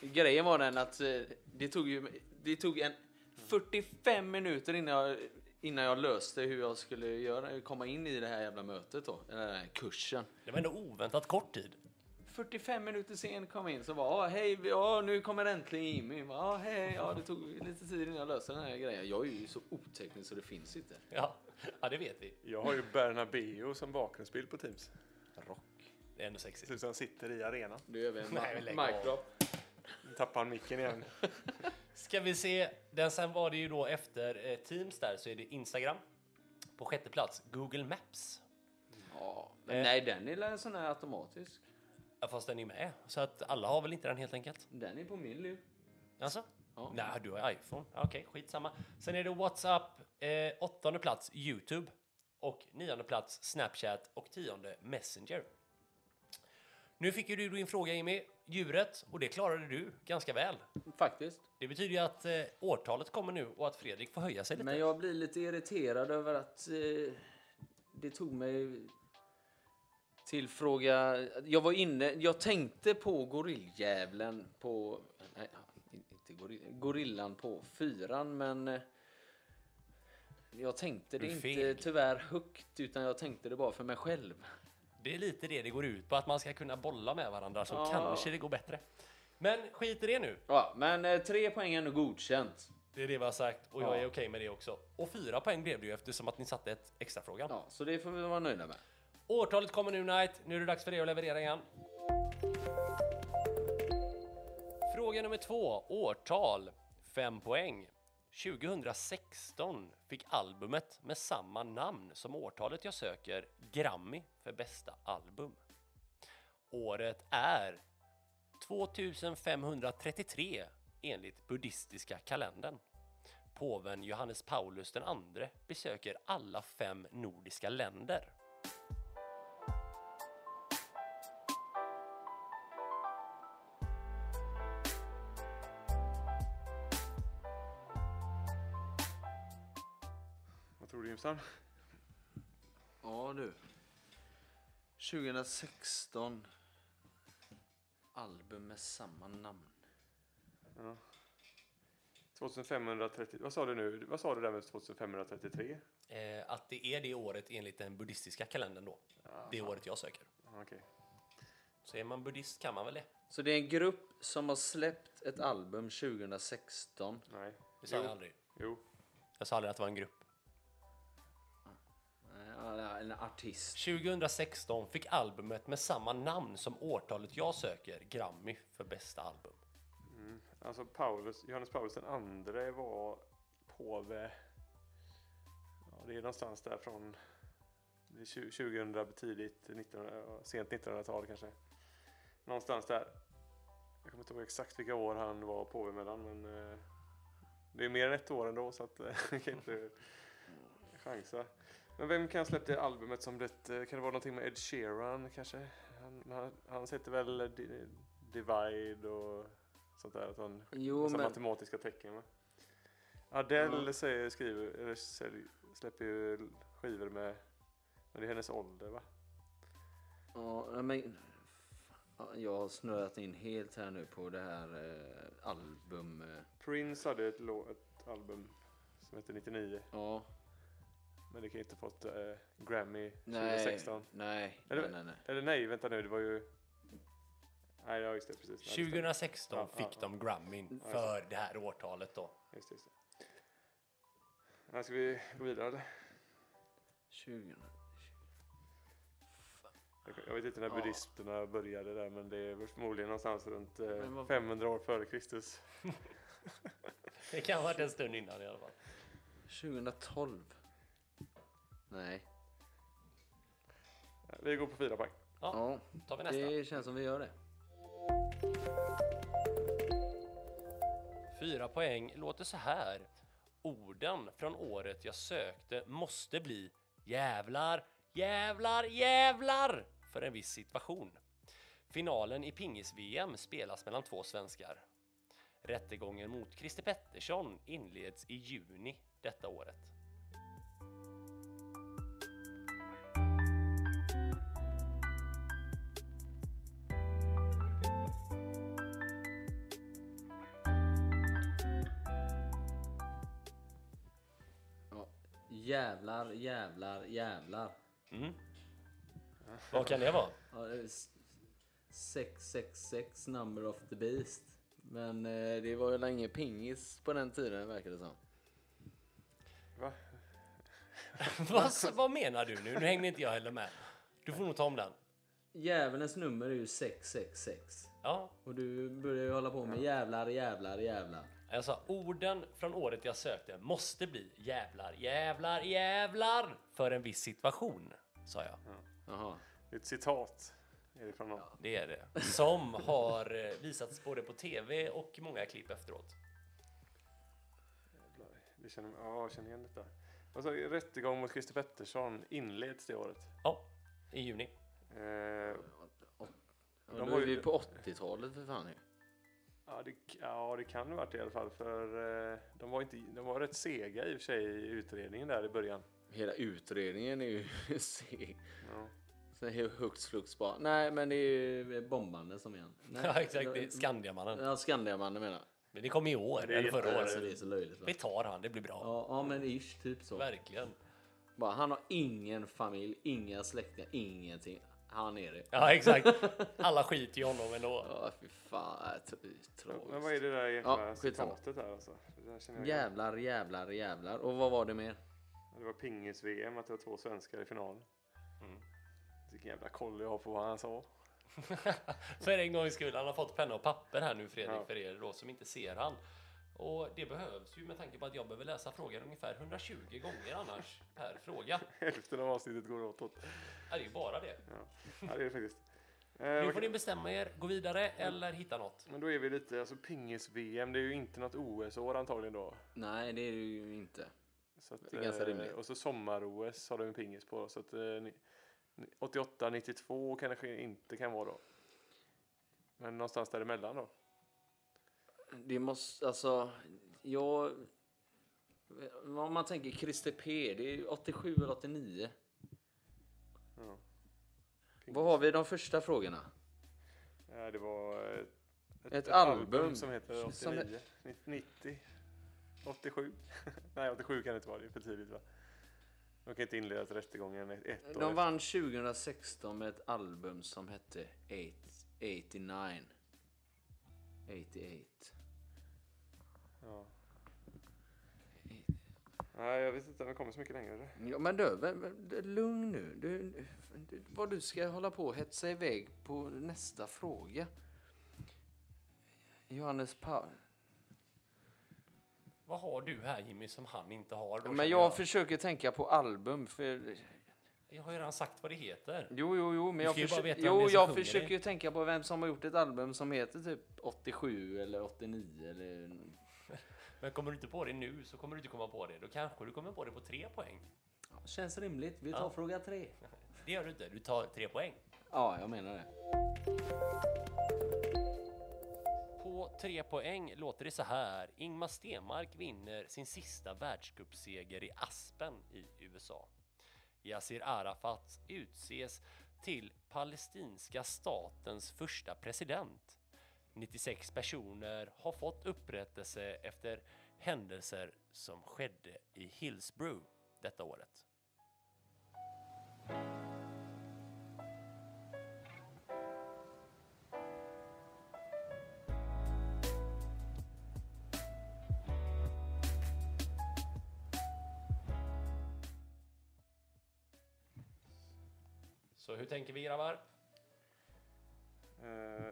Speaker 3: Grejen var den att eh, det tog ju, det tog en 45 minuter innan jag, innan jag löste hur jag skulle göra, komma in i det här jävla mötet då, eller den här kursen.
Speaker 1: Det var ändå oväntat kort tid.
Speaker 3: 45 minuter sen kom jag in så bara, "Ah, hej, vi- ja nu kommer äntligen Jimmy. Bara, "Ah, hej, ja det tog lite tid innan jag löste den här grejen. Jag är ju så oteknisk så det finns inte.
Speaker 1: Ja, ja det vet vi.
Speaker 2: Jag har ju Bernabéu som bakgrundsbild på Teams.
Speaker 3: Rock.
Speaker 1: Det är ändå sexigt.
Speaker 2: Ser ut som han sitter i arenan.
Speaker 3: Du är väl en
Speaker 1: Nej,
Speaker 3: ma-
Speaker 1: men lägg av.
Speaker 3: mic drop.
Speaker 2: Nu tappar han micken igen.
Speaker 1: Ska vi se, den sen var det ju då efter eh, Teams där så är det Instagram. På sjätte plats, Google Maps.
Speaker 3: Ja, men
Speaker 1: Eh.
Speaker 3: nej den är väl en sån här automatisk.
Speaker 1: Ja, fast den är med, så att alla har väl inte den helt enkelt?
Speaker 3: Den är på min lur.
Speaker 1: Alltså?
Speaker 3: Ja.
Speaker 1: Nej, du har iPhone. Ja, Okej, skitsamma. Sen är det WhatsApp, eh, åttonde plats YouTube och nionde plats Snapchat och tionde Messenger. Nu fick ju du din fråga Jimmy, djuret, och det klarade du ganska väl.
Speaker 3: Faktiskt.
Speaker 1: Det betyder ju att eh, årtalet kommer nu och att Fredrik får höja sig lite.
Speaker 3: Men jag blir lite irriterad över att eh, det tog mig till fråga... Jag var inne, jag tänkte på gorilljävlen på... Nej, inte gorill, gorillan på fyran, men... eh, Jag tänkte det
Speaker 1: Du är
Speaker 3: inte
Speaker 1: feg.
Speaker 3: tyvärr högt, utan jag tänkte det bara för mig själv.
Speaker 1: Det är lite det det går ut på, att man ska kunna bolla med varandra så
Speaker 3: Ja.
Speaker 1: kanske det går bättre. Men skit i det nu.
Speaker 3: Ja, men eh, tre poäng är nog godkänt.
Speaker 1: Det är det vi har sagt och jag
Speaker 3: Ja.
Speaker 1: är okej med det också. Och fyra poäng blev det ju eftersom att ni satte ett extra fråga.
Speaker 3: Ja, så det får vi vara nöjda med.
Speaker 1: Årtalet kommer nu Knight, nu är det dags för dig att leverera igen. Fråga nummer två, årtal, fem poäng. 2016 fick albumet med samma namn som årtalet jag söker Grammy för bästa album. Året är 2533 enligt buddhistiska kalendern. Påven Johannes Paulus den andre besöker alla fem nordiska länder.
Speaker 2: Vad tror du Jimsan?
Speaker 3: Ja du. 2016. Album med samma namn.
Speaker 2: 2530. Vad sa du nu? Vad sa du där med 2533?
Speaker 1: Eh, att det är det året enligt den buddhistiska kalendern då. Det året jag söker.
Speaker 2: Ah, Okej.
Speaker 1: Så är man buddhist kan man väl det?
Speaker 3: Så det är en grupp som har släppt ett album 2016.
Speaker 2: Nej.
Speaker 1: Det sa jag
Speaker 2: Jo.
Speaker 1: aldrig.
Speaker 2: Jo.
Speaker 1: Jag sa aldrig att det var en grupp.
Speaker 3: Eh, En artist.
Speaker 1: 2016 fick albumet med samma namn som årtalet jag söker Grammy för bästa album.
Speaker 2: Mm. Alltså Paulus, Johannes Paulus den andre var påve. Ja, det är någonstans där från det är tju- 2000, tidigt 1900, sent 1900-tal kanske. Någonstans där. Jag kommer inte ihåg exakt vilka år han var påve mellan men eh, det är mer än ett år ändå så att eh, [laughs] jag kan inte chansa. Men vem kan släppte albumet som det, eh, kan det vara någonting med Ed Sheeran kanske? Han, han, han heter väl eh, Di- Divide och sånt där. Att han
Speaker 3: Jo,
Speaker 2: Massa
Speaker 3: men
Speaker 2: matematiska tecken. Va? Adele
Speaker 3: Mm.
Speaker 2: säger, skriver, eller sälj, släpper ju skivor med, men det är hennes ålder va?
Speaker 3: Ja, nej, men... Ja, Jag har snöat in helt här nu på det här eh, album... Eh,
Speaker 2: Prince hade ett, lå- ett album som hette 99,
Speaker 3: ja, men
Speaker 2: men det kan ju inte fått eh, Grammy
Speaker 3: nej,
Speaker 2: 2016.
Speaker 3: nej,
Speaker 2: Eller-
Speaker 3: nej, nej, nej.
Speaker 2: Eller nej, vänta nu, det var ju... Nej, ja, just det, precis. Nej, det stämmer.
Speaker 1: 2016
Speaker 2: Ja, ja,
Speaker 1: fick
Speaker 2: ja.
Speaker 1: de Grammin för det här årtalet då.
Speaker 2: Just, det, just det. Nej, ska vi gå vidare eller?
Speaker 3: 20.
Speaker 2: Jag, jag vet inte när
Speaker 3: Ja.
Speaker 2: buddhisterna började där, men det är väl förmodligen någonstans runt eh,
Speaker 3: Men vad-
Speaker 2: 500 år före Kristus.
Speaker 1: Det kan ha varit en stund innan i alla fall.
Speaker 3: 2012. Nej.
Speaker 2: Vi går på fyra poäng.
Speaker 3: Ja,
Speaker 1: Tar vi nästa.
Speaker 3: det känns som vi gör det.
Speaker 1: Fyra poäng låter så här. Orden från året jag sökte måste bli jävlar, jävlar, jävlar för en viss situation. Finalen i pingis-VM spelas mellan två svenskar. Rättegången mot Christer Pettersson inleds i juni detta året.
Speaker 3: Ja. Jävlar, jävlar, jävlar.
Speaker 1: Mm. Vad kan det vara?
Speaker 3: Ja, det är s- 666 number of the beast. Men eh, det var ju länge pingis på den tiden verkar det som.
Speaker 2: Va?
Speaker 1: [laughs] vad, vad menar du nu? Nu hängde inte jag heller med. Du får nog ta om den.
Speaker 3: Djävulens nummer är ju 666.
Speaker 1: Ja,
Speaker 3: Och du börjar ju hålla på med jävlar, jävlar, jävlar.
Speaker 1: Jag sa orden från året jag sökte måste bli jävlar, jävlar, jävlar för en viss situation, sa jag.
Speaker 3: Jaha.
Speaker 2: Det är ett citat. Är det från någon?
Speaker 1: Det är det. Som har eh, visats både på tv och många klipp efteråt.
Speaker 2: Jävlar, Det känner, ja, jag känner igen detta. Alltså, rättegång mot Christer Pettersson inleds det året.
Speaker 1: Ja, i juni.
Speaker 2: Eh,
Speaker 3: Ja,
Speaker 2: De
Speaker 3: då
Speaker 2: var
Speaker 3: är
Speaker 2: ju-
Speaker 3: vi på 80-talet för fan ju.
Speaker 2: ja, det, ja, det kan ha varit det i alla fall. För eh, de, var inte, de var rätt sega i och för sig i utredningen där i början.
Speaker 3: Hela utredningen är ju [laughs] seg.
Speaker 2: Ja.
Speaker 3: Sen är det högt flux bara. Nej, men det är ju bombande som igen. Nej,
Speaker 1: [laughs] Ja, exakt. Det är Skandiamannen.
Speaker 3: Ja, Skandiamannen menar jag.
Speaker 1: Men det kom i år,
Speaker 2: Det är
Speaker 1: eller förra
Speaker 3: Alltså, det
Speaker 1: året.
Speaker 3: är så löjligt. Va?
Speaker 1: Vi tar han, det blir bra.
Speaker 3: Ja, ja, men ish, typ så.
Speaker 1: Verkligen.
Speaker 3: Bara, han har ingen familj, inga släktingar, ingenting. Han är det.
Speaker 1: Ja, exakt. Alla skiter i honom ändå.
Speaker 3: Ja, fy fan. det är tr- Tragiskt.
Speaker 2: Men vad är det där
Speaker 3: Ja,
Speaker 2: egentligen?
Speaker 3: skitsamma.
Speaker 2: citatet där alltså? Det, där känner jag igen.
Speaker 3: Jävlar, jävlar, jävlar. Och vad var det mer?
Speaker 2: det var pingis-VM, att det var två svenskar i finalen.
Speaker 1: Mm.
Speaker 2: Vilken jävla koll jag har på vad han sa. [laughs]
Speaker 1: [laughs] För en gångs skull. Han har fått penna och papper här nu Fredrik
Speaker 2: Ja.
Speaker 1: för er då som inte ser han. Och det behövs ju med tanke på att jag behöver läsa frågan ungefär 120 gånger annars per fråga.
Speaker 2: Hälften av avsnittet går åtåt.
Speaker 1: Ja, Det är ju bara det.
Speaker 2: Ja, det är det faktiskt. Eh,
Speaker 1: Nu
Speaker 2: vad
Speaker 1: får ni bestämma er, gå vidare eller hitta något.
Speaker 2: Men då är vi lite, alltså pingis-VM, det är ju inte något OS-år antagligen då.
Speaker 3: Nej, det är det ju inte.
Speaker 2: Så att,
Speaker 3: Det är ganska
Speaker 2: eh,
Speaker 3: rimligt.
Speaker 2: Och så sommar-OS har de ju pingis på. Så att eh, ni- ni- 88, 92 kanske inte kan vara då. Men någonstans däremellan då.
Speaker 3: Det måste, alltså, jag... Om man tänker Christer P, det är ju 87 eller 89.
Speaker 2: Ja. Pingis.
Speaker 3: Vad har vi i de första frågorna?
Speaker 2: Ja, det var eh, ett,
Speaker 3: Ett album
Speaker 2: som heter
Speaker 3: som
Speaker 2: 89, 90, 87. [laughs] Nej, 87 kan det inte vara, det är för tidigt va? De kan inte inleda till rättegången ett, ett år
Speaker 3: De vann 2016 med ett album som hette 89. 88.
Speaker 2: efter. Ja. Nej, jag vet inte om det kommer så mycket längre.
Speaker 3: Ja, men du, vem- vem- du, lugn nu. Du, du, vad du ska hålla på och hetsa iväg på nästa fråga. Johannes Paul.
Speaker 1: Vad har du här Jimmy som han inte har? då,
Speaker 3: Men
Speaker 1: känner
Speaker 3: jag försöker tänka på album. För...
Speaker 1: jag har ju redan sagt vad det heter.
Speaker 3: Jo, jo, jo. Men
Speaker 1: Du
Speaker 3: jag,
Speaker 1: ska ju bara
Speaker 3: försö-
Speaker 1: veta vem det är
Speaker 3: jo,
Speaker 1: som
Speaker 3: jag
Speaker 1: sjunger
Speaker 3: försöker
Speaker 1: det.
Speaker 3: ju tänka på vem som har gjort ett album som heter typ 87 eller 89 eller...
Speaker 1: Men kommer du inte på det nu så kommer du inte komma på det. Då kanske du kommer på det på tre poäng.
Speaker 3: Känns rimligt. Vi tar
Speaker 1: Ja.
Speaker 3: fråga tre.
Speaker 1: Det gör du inte. Du tar tre poäng.
Speaker 3: Ja, jag menar det.
Speaker 1: På tre poäng låter det så här. Ingmar Stenmark vinner sin sista världscupseger i Aspen i USA. Yasser Arafat utses till palestinska statens första president. 96 personer har fått upprättelse efter händelser som skedde i Hillsborough detta året. Så hur tänker vi grabbar?
Speaker 2: Eh,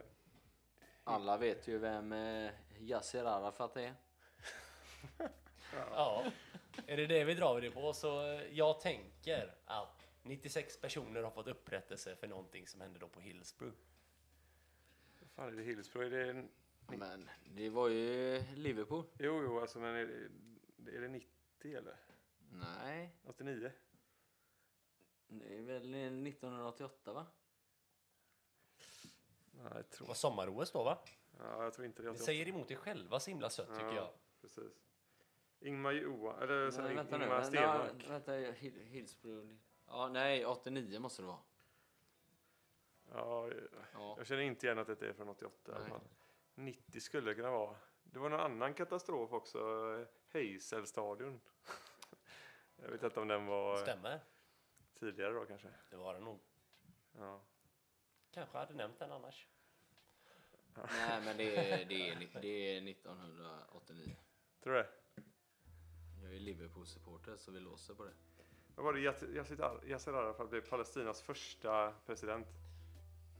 Speaker 3: Alla vet ju vem eh, Yasser Arafat är.
Speaker 1: Ja, är det det vi drar det på? Så eh, jag tänker att 96 personer har fått upprättelse för någonting som hände då på Hillsborough.
Speaker 2: vad fan är det Hillsborough? Är det en...
Speaker 3: Men det var ju Liverpool.
Speaker 2: Jo, jo, alltså men är det, är det 90 eller?
Speaker 3: Nej,
Speaker 2: 89?
Speaker 3: det är väl 1988 va?
Speaker 2: Nej, jag
Speaker 1: Det
Speaker 2: tror,
Speaker 1: var sommar-OS då va?
Speaker 2: ja, jag tror inte det.
Speaker 1: Ni säger emot er själva så himla sött tycker jag.
Speaker 2: Precis. Ingmar Johan, eller så
Speaker 3: Nej,
Speaker 2: här,
Speaker 3: vänta nu.
Speaker 2: Ingmar
Speaker 3: Vänta,
Speaker 2: Stenmark.
Speaker 3: vänta, Hill- Hillsborough. Ja, nej, 89 måste det vara.
Speaker 2: Ja,
Speaker 3: Ja.
Speaker 2: jag känner inte igen att det är från 88 i alla
Speaker 3: Nej.
Speaker 2: fall. 90 skulle det kunna vara. Det var någon annan katastrof också. Heiselstadion. [laughs] jag vet inte om den var
Speaker 1: Stämmer.
Speaker 2: tidigare då kanske.
Speaker 1: Det var det nog.
Speaker 2: Ja.
Speaker 1: Kanske hade nämnt den annars.
Speaker 3: Nej, men det är, det, är, ni- det är 1989.
Speaker 2: Tror du det?
Speaker 3: Jag är Liverpool-supporter så vi låser på det.
Speaker 2: Vad var det? Yas- Yasser Ar- Yasser Arafat blev Palestinas första president.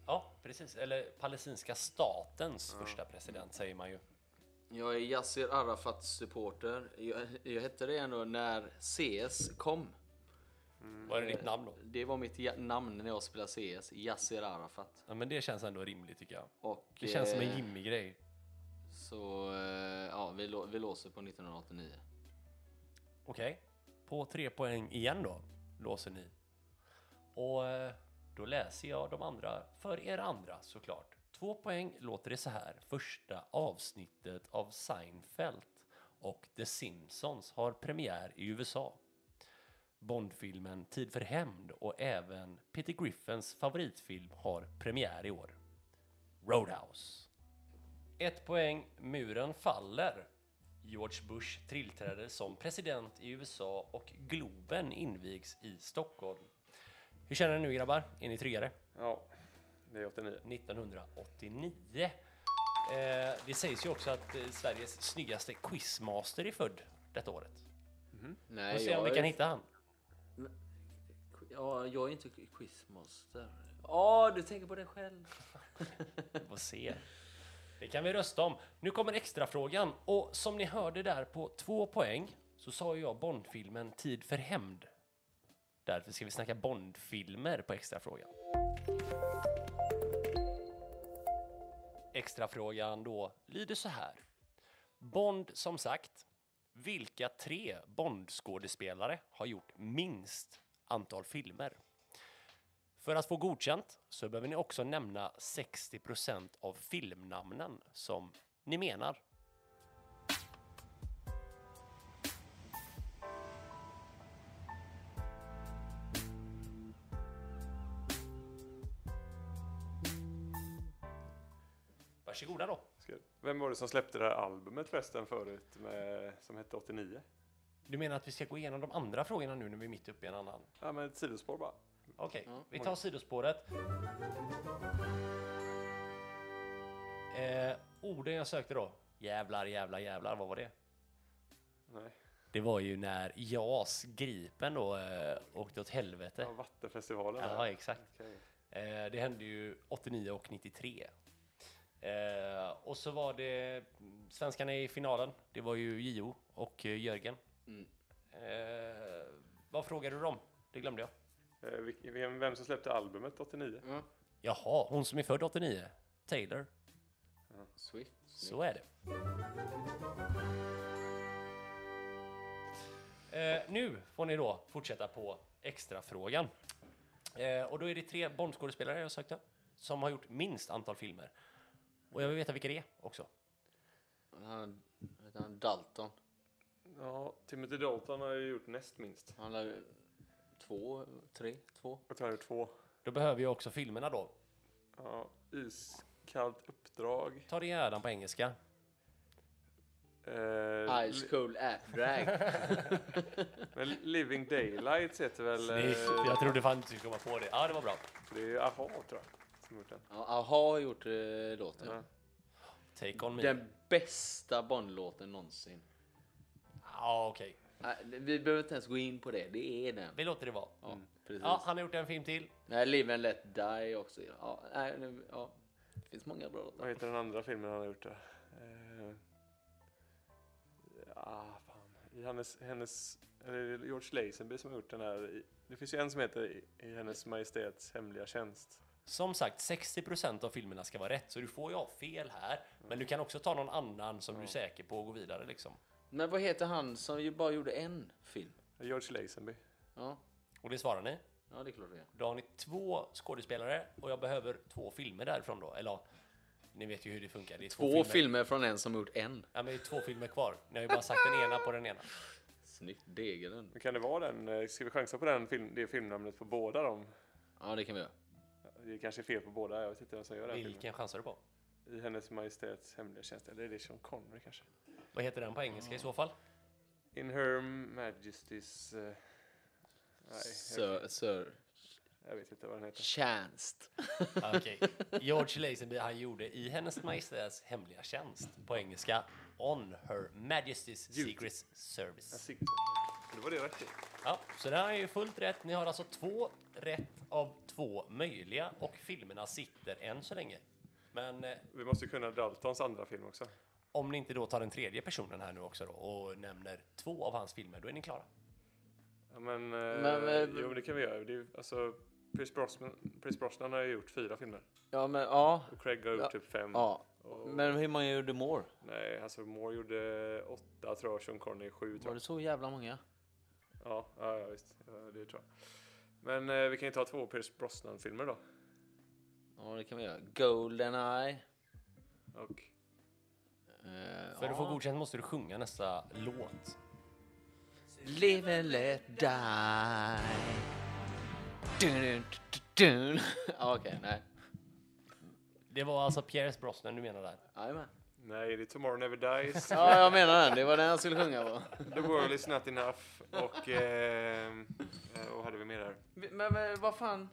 Speaker 1: Ja, precis. Eller palestinska statens första president säger man ju.
Speaker 3: Jag är Yasser Arafat-supporter. Jag, jag hette det ändå när CS kom.
Speaker 1: Vad är ditt namn då?
Speaker 3: Det var mitt ja- namn när jag spelade CS, Yasser Arafat.
Speaker 1: Ja, men det känns ändå rimligt tycker jag.
Speaker 3: Och,
Speaker 1: Det känns som
Speaker 3: eh,
Speaker 1: en Jimmy-grej.
Speaker 3: Så eh, ja, vi, lå- vi låser på 1989.
Speaker 1: Okej. På tre poäng igen då, låser ni. Och eh, då läser jag de andra för er andra såklart. Två poäng låter det så här. Första avsnittet av Seinfeld och The Simpsons har premiär i USA. Bondfilmen Tid för hämnd och även Peter Griffins favoritfilm har premiär i år. Roadhouse. Ett poäng, muren faller. George Bush tillträder som president i USA och Globen invigs i Stockholm. Hur känner ni nu grabbar? Är ni tryggare?
Speaker 2: Ja, det är 89.
Speaker 1: 1989. Eh, det sägs ju också att eh, Sveriges snyggaste quizmaster är född detta året. Vi får
Speaker 3: Nej,
Speaker 1: se om vi kan
Speaker 3: är-
Speaker 1: hitta han.
Speaker 3: Ja, jag är inte quizmaster. Ja, du tänker på dig själv.
Speaker 1: [laughs] Vi får se. Det kan vi rösta om. Nu kommer extra frågan och som ni hörde där på två poäng så sa ju jag Bondfilmen Tid för hämnd. Därför ska vi snacka Bondfilmer på extrafrågan. Extrafrågan då lyder så här. Bond som sagt. Vilka tre Bondskådespelare har gjort minst antal filmer? För att få godkänt så behöver ni också nämna 60 av filmnamnen som ni menar. Varsågoda då.
Speaker 2: Ska- Vem var det som släppte det här albumet förresten förut med, som hette 89?
Speaker 1: Du menar att vi ska gå igenom de andra frågorna nu när vi är mitt uppe i en annan?
Speaker 2: Ja, men ett sidospår bara.
Speaker 1: Okej, vi tar sidospåret. Eh, orden jag sökte då. Jävlar, jävlar, jävlar. Vad var det?
Speaker 2: Nej.
Speaker 1: Det var ju när JAS Gripen då eh, åkte åt helvete.
Speaker 2: Ja, Vattenfestivalen.
Speaker 1: Ja,
Speaker 2: där.
Speaker 1: exakt.
Speaker 2: Okej.
Speaker 1: Eh, det hände ju 89 och 93. Eh, och så var det svenskarna i finalen. Det var ju Gio och eh, Jörgen.
Speaker 3: Mm.
Speaker 1: Eh, vad frågade du dem? Det glömde jag.
Speaker 2: Eh, vil- Vem, vem som släppte albumet 89?
Speaker 3: Ja.
Speaker 1: Jaha, hon som är född 89. Taylor.
Speaker 3: Swift.
Speaker 1: Så är det. Eh, nu får ni då fortsätta på extrafrågan. Eh, och då är det tre Bondskådespelare jag sökte som har gjort minst antal filmer. Och jag vill veta vilka det är också.
Speaker 3: Han, vad heter han Dalton.
Speaker 2: Ja, Timothy Dalton har ju gjort näst minst.
Speaker 3: Han har ju två, tre, två.
Speaker 2: Jag tror han har gjort två.
Speaker 1: Då behöver jag också filmerna då.
Speaker 2: Ja, iskallt uppdrag.
Speaker 1: Ta det gärna på engelska.
Speaker 2: Eh,
Speaker 3: Ice Cold App
Speaker 1: [laughs]
Speaker 3: Drag.
Speaker 2: men Living Daylights heter väl... eh,
Speaker 1: Snyggt. Jag trodde fan inte du skulle komma på det. Ja, det var bra.
Speaker 2: Det är ju AHA tror jag. Som har gjort den.
Speaker 3: ja, Aha har gjort eh, låten.
Speaker 2: Ja.
Speaker 1: Take on me. Ja,
Speaker 3: Den bästa Bond-låten någonsin.
Speaker 1: okej.
Speaker 3: Nej, Vi behöver inte ens gå in på det. Det är den.
Speaker 1: Vi låter det vara.
Speaker 3: Ja,
Speaker 1: Mm.
Speaker 3: precis.
Speaker 1: Ja, han har gjort en film till.
Speaker 3: Nej, Live and Let Die också. Ja, nej, nu, ja. Det finns många bra
Speaker 2: Vad
Speaker 3: låtar.
Speaker 2: heter den andra filmen han har gjort då? Eh, ah, fan. I hennes, hennes, eller är det George Lazenby som har gjort den här. i- Det finns ju en som heter I, I hennes majestäts hemliga tjänst.
Speaker 1: Som sagt, 60% av filmerna ska vara rätt, så du får ju ha fel här. Men du kan också ta någon annan som du är säker på och gå vidare liksom.
Speaker 3: Men vad heter han som ju bara gjorde en film?
Speaker 2: George Lazenby.
Speaker 3: Ja,
Speaker 1: Och det svarar ni.
Speaker 3: ja det är klart det är.
Speaker 1: Då har ni två skådespelare och jag behöver två filmer därifrån då. Eller ja, ni vet ju hur det funkar. Det är
Speaker 3: Två filmer från en som gjort en.
Speaker 1: Ja, men det är två filmer kvar. Ni har ju bara sagt den ena på den ena.
Speaker 3: Snyggt, Degerlund.
Speaker 2: Men kan det vara den? eh, Ska vi chansa på den film, det filmnamnet på båda dem?
Speaker 3: Ja, det kan vi göra.
Speaker 2: Det är kanske är fel på båda. Jag vet inte vem som gör den filmen.
Speaker 1: Vilken chansar du på?
Speaker 2: I hennes majestäts hemliga tjänst. Eller är det Sean Connery kanske?
Speaker 1: Vad heter den på engelska i så fall?
Speaker 2: In her majesty's... eh, nej, jag,
Speaker 3: Sir, sir
Speaker 2: jag vet inte vad den heter.
Speaker 3: Chanst.
Speaker 1: Ah, Okej. George Lazenby, han gjorde I hennes majestäts hemliga tjänst på engelska On her majesty's secret service.
Speaker 2: Secret. Det var det rätt i.
Speaker 1: Ja, så det här är ju fullt rätt. Ni har alltså två rätt av två möjliga och filmerna sitter än så länge. Men eh,
Speaker 2: Vi måste ju kunna Daltons andra film också.
Speaker 1: om ni inte då tar den tredje personen här nu också då och nämner två av hans filmer, då är ni klara.
Speaker 2: Ja, men, eh,
Speaker 3: Men, eh,
Speaker 2: jo, det kan vi göra. Det är, ju- alltså, Pierce Brosnan, Pierce Brosnan har ju gjort fyra filmer.
Speaker 3: Ja, men ja.
Speaker 2: Och Craig har gjort
Speaker 3: Ja.
Speaker 2: typ fem.
Speaker 3: ja.
Speaker 2: Och,
Speaker 3: Men hur många gjorde Moore?
Speaker 2: nej, alltså Moore gjorde åtta tror jag, Sean Connery sju
Speaker 3: Var
Speaker 2: tror
Speaker 3: det
Speaker 2: jag.
Speaker 3: så jävla många?
Speaker 2: Ja, ja, ja visst. Ja, det tror jag. Men eh, vi kan ju ta två Pierce Brosnan-filmer då.
Speaker 3: Ja, det kan vi göra. Goldeneye.
Speaker 2: Och,
Speaker 3: Eh,
Speaker 1: För att få
Speaker 3: ja.
Speaker 1: godkänt måste du sjunga nästa låt.
Speaker 3: Live and let die. Dun, dun, dun, [laughs] dun. Ja, Okej, nej.
Speaker 1: Det var alltså Pierce Brosnan du menar där.
Speaker 3: Jajamän.
Speaker 2: nej, det är Tomorrow Never Dies,
Speaker 3: [laughs] Ja, jag menar den. Det var den jag skulle sjunga på.
Speaker 2: The World Is Not Enough och... Eh, eh, vad hade vi mer där?
Speaker 3: Men, men vad fan?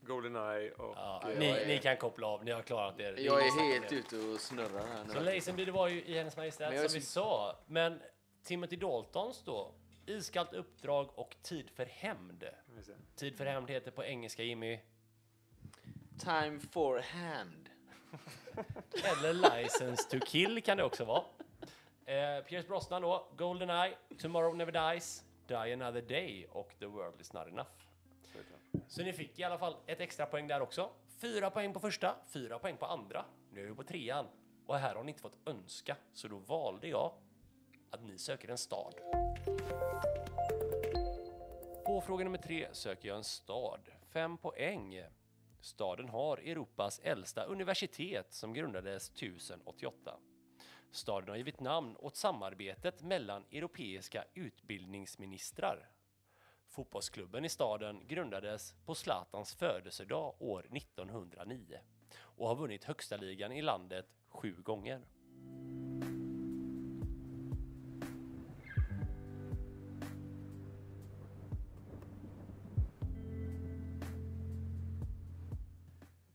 Speaker 2: Goldeneye och...
Speaker 1: Ja,
Speaker 2: eh,
Speaker 1: ni,
Speaker 3: är-
Speaker 1: ni kan koppla av, ni har klarat er. Det
Speaker 3: Jag
Speaker 1: inget snack om
Speaker 3: är helt
Speaker 1: det.
Speaker 3: ute och snurrar här
Speaker 1: Så
Speaker 3: nu.
Speaker 1: Lazenby, det var ju i Hennes
Speaker 3: Men jag är
Speaker 1: Majestät som vi
Speaker 3: så-
Speaker 1: sa. Men Timothy Daltons då? Iskallt uppdrag och Tid för hämnd.
Speaker 2: ska vi se.
Speaker 1: Tid för hämnd heter på engelska Jimmy.
Speaker 3: Time for hand.
Speaker 1: Eller License to kill kan det också vara. Eh, Pierce Brosnan då, Goldeneye, Tomorrow Never Dies, Die Another Day och The World Is Not Enough.
Speaker 2: Så heter den.
Speaker 1: Så ni fick i alla fall ett extra poäng där också. Fyra poäng på första, fyra poäng på andra. Nu är vi på trean. Och här har ni inte fått önska, så då valde jag att ni söker en stad. På fråga nummer tre söker jag en stad. Fem poäng. Staden har Europas äldsta universitet som grundades 1088. Staden har givit namn åt samarbetet mellan europeiska utbildningsministrar Fotbollsklubben i staden grundades på Zlatans födelsedag år 1909 och har vunnit högsta ligan i landet sju gånger.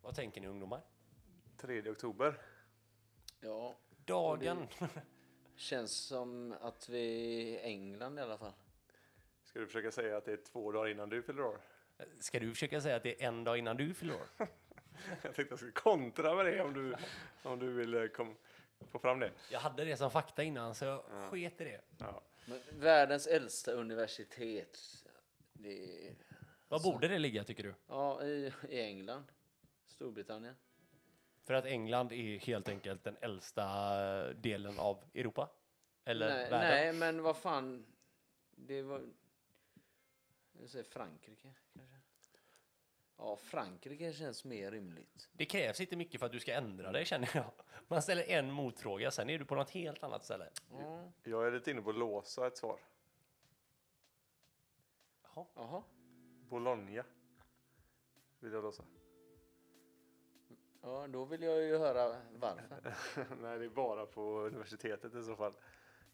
Speaker 1: Vad tänker ni ungdomar?
Speaker 2: 3 oktober.
Speaker 3: Ja,
Speaker 1: Dagen. [laughs]
Speaker 3: känns som att vi är i England i alla fall.
Speaker 2: Ska du försöka säga att det är två dagar innan du fyller år?
Speaker 1: Ska du försöka säga att det är en dag innan du fyller år?
Speaker 2: Jag tänkte jag skulle kontra med det om du, om du vill eh, kom, få fram det.
Speaker 1: Jag hade det som fakta innan så jag sket i det.
Speaker 2: Ja.
Speaker 3: Men världens äldsta universitet. Det är,
Speaker 1: Vad borde det ligga tycker du?
Speaker 3: ja, i, i England. Storbritannien.
Speaker 1: För att England är helt enkelt den äldsta eh, delen av Europa? Eller
Speaker 3: Nej,
Speaker 1: världen?
Speaker 3: nej, men vad fan. Det var... Jag säger Frankrike kanske. Ja, Frankrike känns mer rimligt.
Speaker 1: Det krävs inte mycket för att du ska ändra dig känner jag. Man ställer en motfråga, sen är du på något helt annat ställe.
Speaker 3: Ja.
Speaker 2: Jag är lite inne på att låsa ett svar.
Speaker 3: Jaha.
Speaker 2: Bologna vill jag låsa. [laughs]
Speaker 3: Ja, då vill jag ju höra varför.
Speaker 2: Nej, det är bara på universitetet i så fall.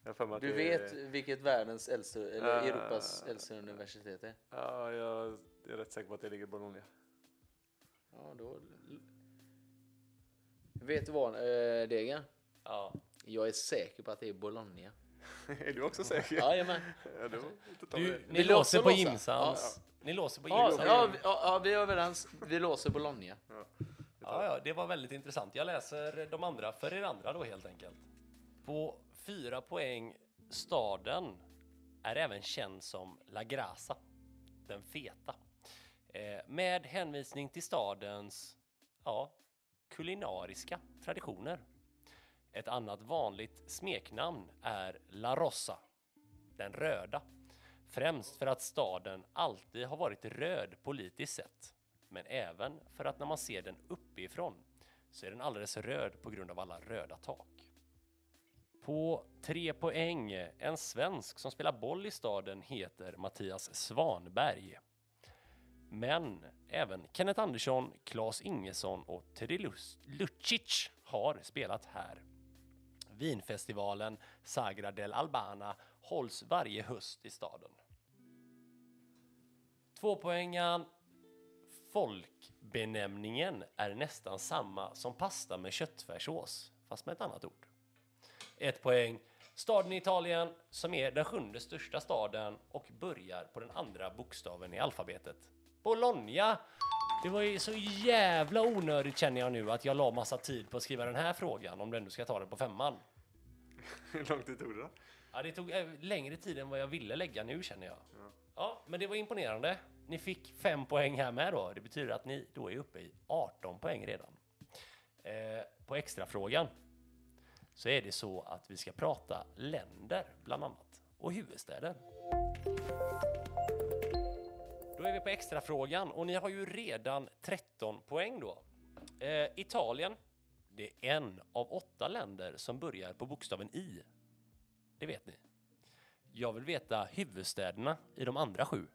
Speaker 2: Jag har för mig att
Speaker 3: Du
Speaker 2: det
Speaker 3: vet
Speaker 2: Är,
Speaker 3: vilket världens äldsta, eller
Speaker 2: Eh,
Speaker 3: Europas äldsta universitet är?
Speaker 2: ja, jag är rätt säker på att det ligger i Bologna. [laughs]
Speaker 3: Ja, då... Vet du vad, eh, Degan?
Speaker 1: Ja.
Speaker 3: Jag är säker på att det är Bologna.
Speaker 2: är du också säker?
Speaker 3: Jajamän.
Speaker 2: [laughs] Ja, då tar vi
Speaker 1: Du,
Speaker 2: det.
Speaker 1: ni
Speaker 3: Vill du
Speaker 1: låser
Speaker 3: också
Speaker 1: på
Speaker 3: låsa?
Speaker 1: Jimsans. Ni låser på
Speaker 3: Ja,
Speaker 1: Jimsans.
Speaker 3: ja, vi- ja, ja, vi är överens. Vi låser Bologna.
Speaker 1: Ja, ja, det var väldigt intressant. Jag läser de andra för er andra då helt enkelt. På fyra poäng, staden är även känd som La Grassa, den feta. Eh, med hänvisning till stadens ja, kulinariska traditioner. Ett annat vanligt smeknamn är La Rossa, den röda. Främst för att staden alltid har varit röd politiskt sett, men även för att när man ser den uppifrån så är den alldeles röd på grund av alla röda tak. På tre poäng, en svensk som spelar boll i staden heter Mattias Svanberg. Men även Kenneth Andersson, Claes Ingesson och Teddy Lus- Lucic har spelat här. Vinfestivalen Sagra del Albana hålls varje höst i staden. Tvåpoängaren Folkbenämningen är nästan samma som pasta med köttfärssås, fast med ett annat ord. Ett poäng. Staden i Italien, som är den sjunde största staden och börjar på den andra bokstaven i alfabetet. Bologna! Det var ju så jävla onödigt känner jag nu att jag la massa tid på att skriva den här frågan om du ändå ska ta den på femman.
Speaker 2: Hur lång tid tog det [laughs] då?
Speaker 1: Ja, det tog eh, längre tid än vad jag ville lägga nu känner jag. Ja, men det var imponerande. Ni fick fem poäng här med då. Det betyder att ni då är uppe i 18 poäng redan. Eh, på extrafrågan så är det så att vi ska prata länder bland annat och huvudstäder. Då är vi på extrafrågan och ni har ju redan 13 poäng då. Eh, Italien, det är en av åtta länder som börjar på bokstaven I det vet ni. Jag vill veta huvudstäderna i de andra sju.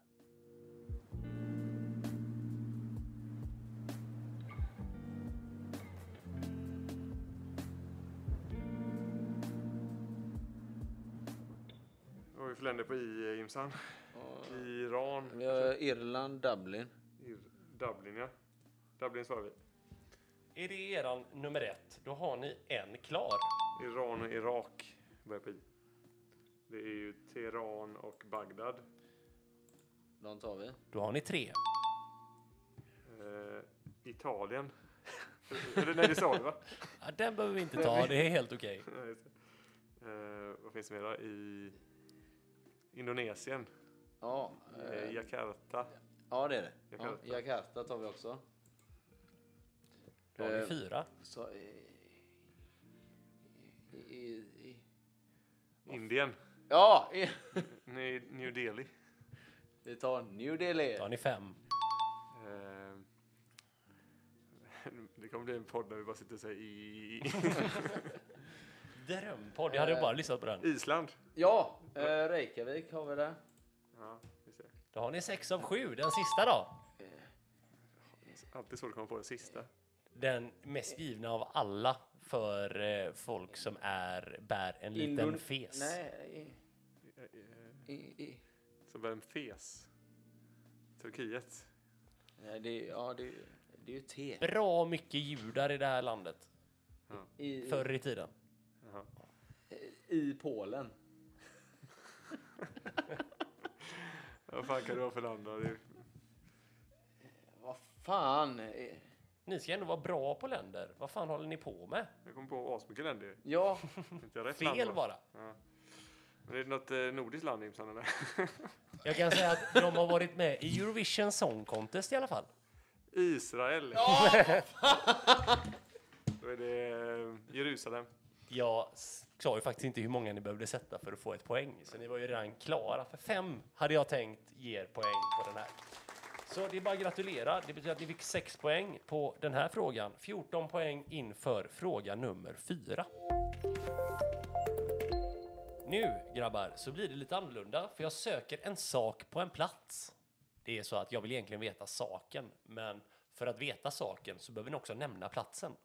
Speaker 2: Vad har vi för länder på I, eh, Imsan?
Speaker 3: Ja.
Speaker 2: Iran,
Speaker 3: Vi har Irland, Dublin.
Speaker 2: Ir- Dublin ja. Dublin svarar vi.
Speaker 1: Är det eran nummer ett, då har ni en klar.
Speaker 2: Iran och Irak börjar på I. Det är ju Teheran och Bagdad.
Speaker 3: De tar vi.
Speaker 1: Då har ni tre.
Speaker 2: Eh, Italien. [laughs] Eller nej, det sa vi va?
Speaker 1: Ja, den behöver vi inte ta, det är helt okej.
Speaker 2: Nej, just det. Eh, vad finns det mer då? I Indonesien.
Speaker 3: Ja,
Speaker 2: Eh,
Speaker 3: eh,
Speaker 2: Jakarta.
Speaker 3: ja det är det. Ja,
Speaker 2: Jakarta.
Speaker 3: Jakarta tar vi också.
Speaker 1: Då har ni
Speaker 3: Eh,
Speaker 1: fyra.
Speaker 3: Så, eh, i, i, i,
Speaker 2: Indien.
Speaker 3: ja, [laughs] i,
Speaker 2: Ny- New Delhi.
Speaker 3: vi tar New
Speaker 1: Då har
Speaker 3: Delhi.
Speaker 1: ni fem.
Speaker 2: Eh, [laughs] det kommer bli en podd där vi bara sitter och säger i...
Speaker 1: Drömpodd, jag hade
Speaker 3: Eh.
Speaker 1: bara lyssnat på den.
Speaker 2: Island.
Speaker 3: Ja, eh, Reykjavik har vi där.
Speaker 2: Ja, just det.
Speaker 1: Då har ni sex av sju, den sista då.
Speaker 2: Alltid svårt att komma på den sista.
Speaker 1: Den mest givna av alla för eh, folk som är, bär en liten
Speaker 3: Indon-
Speaker 1: fes.
Speaker 3: Nej,
Speaker 2: Eh, eh,
Speaker 3: i, i, i.
Speaker 2: Som vem fes? Turkiet.
Speaker 3: Nej, det, är- ja, det, är- det är ju te.
Speaker 1: Bra mycket judar i det här landet,
Speaker 3: I, i,
Speaker 1: förr i tiden.
Speaker 2: Jaha.
Speaker 3: I Polen.
Speaker 2: Vad fan kan det vara för land då? Det är-
Speaker 3: Vad fan? eh,
Speaker 1: Ni ska ändå vara bra på länder. Vad fan håller ni på med?
Speaker 2: Jag kom på asmycket länder.
Speaker 3: Ja,
Speaker 2: Inte rätt
Speaker 1: Fel
Speaker 2: land, va?
Speaker 1: bara.
Speaker 2: Ja. Men är det något eh, nordiskt land inblandat eller?
Speaker 1: Jag kan säga att de har varit med i Eurovision Song Contest i alla fall.
Speaker 2: Israel. [laughs] Då är det eh, Jerusalem.
Speaker 1: Jag s- sa ju faktiskt inte hur många ni behövde sätta för att få ett poäng, så ni var ju redan klara. För fem hade jag tänkt ge er poäng på den här. Så det är bara att gratulera. Det betyder att ni fick sex poäng på den här frågan. 14 poäng inför fråga nummer fyra. Nu, grabbar, så blir det lite annorlunda, för jag söker en sak på en plats. Det är så att jag vill egentligen veta saken, men för att veta saken så behöver ni också nämna platsen.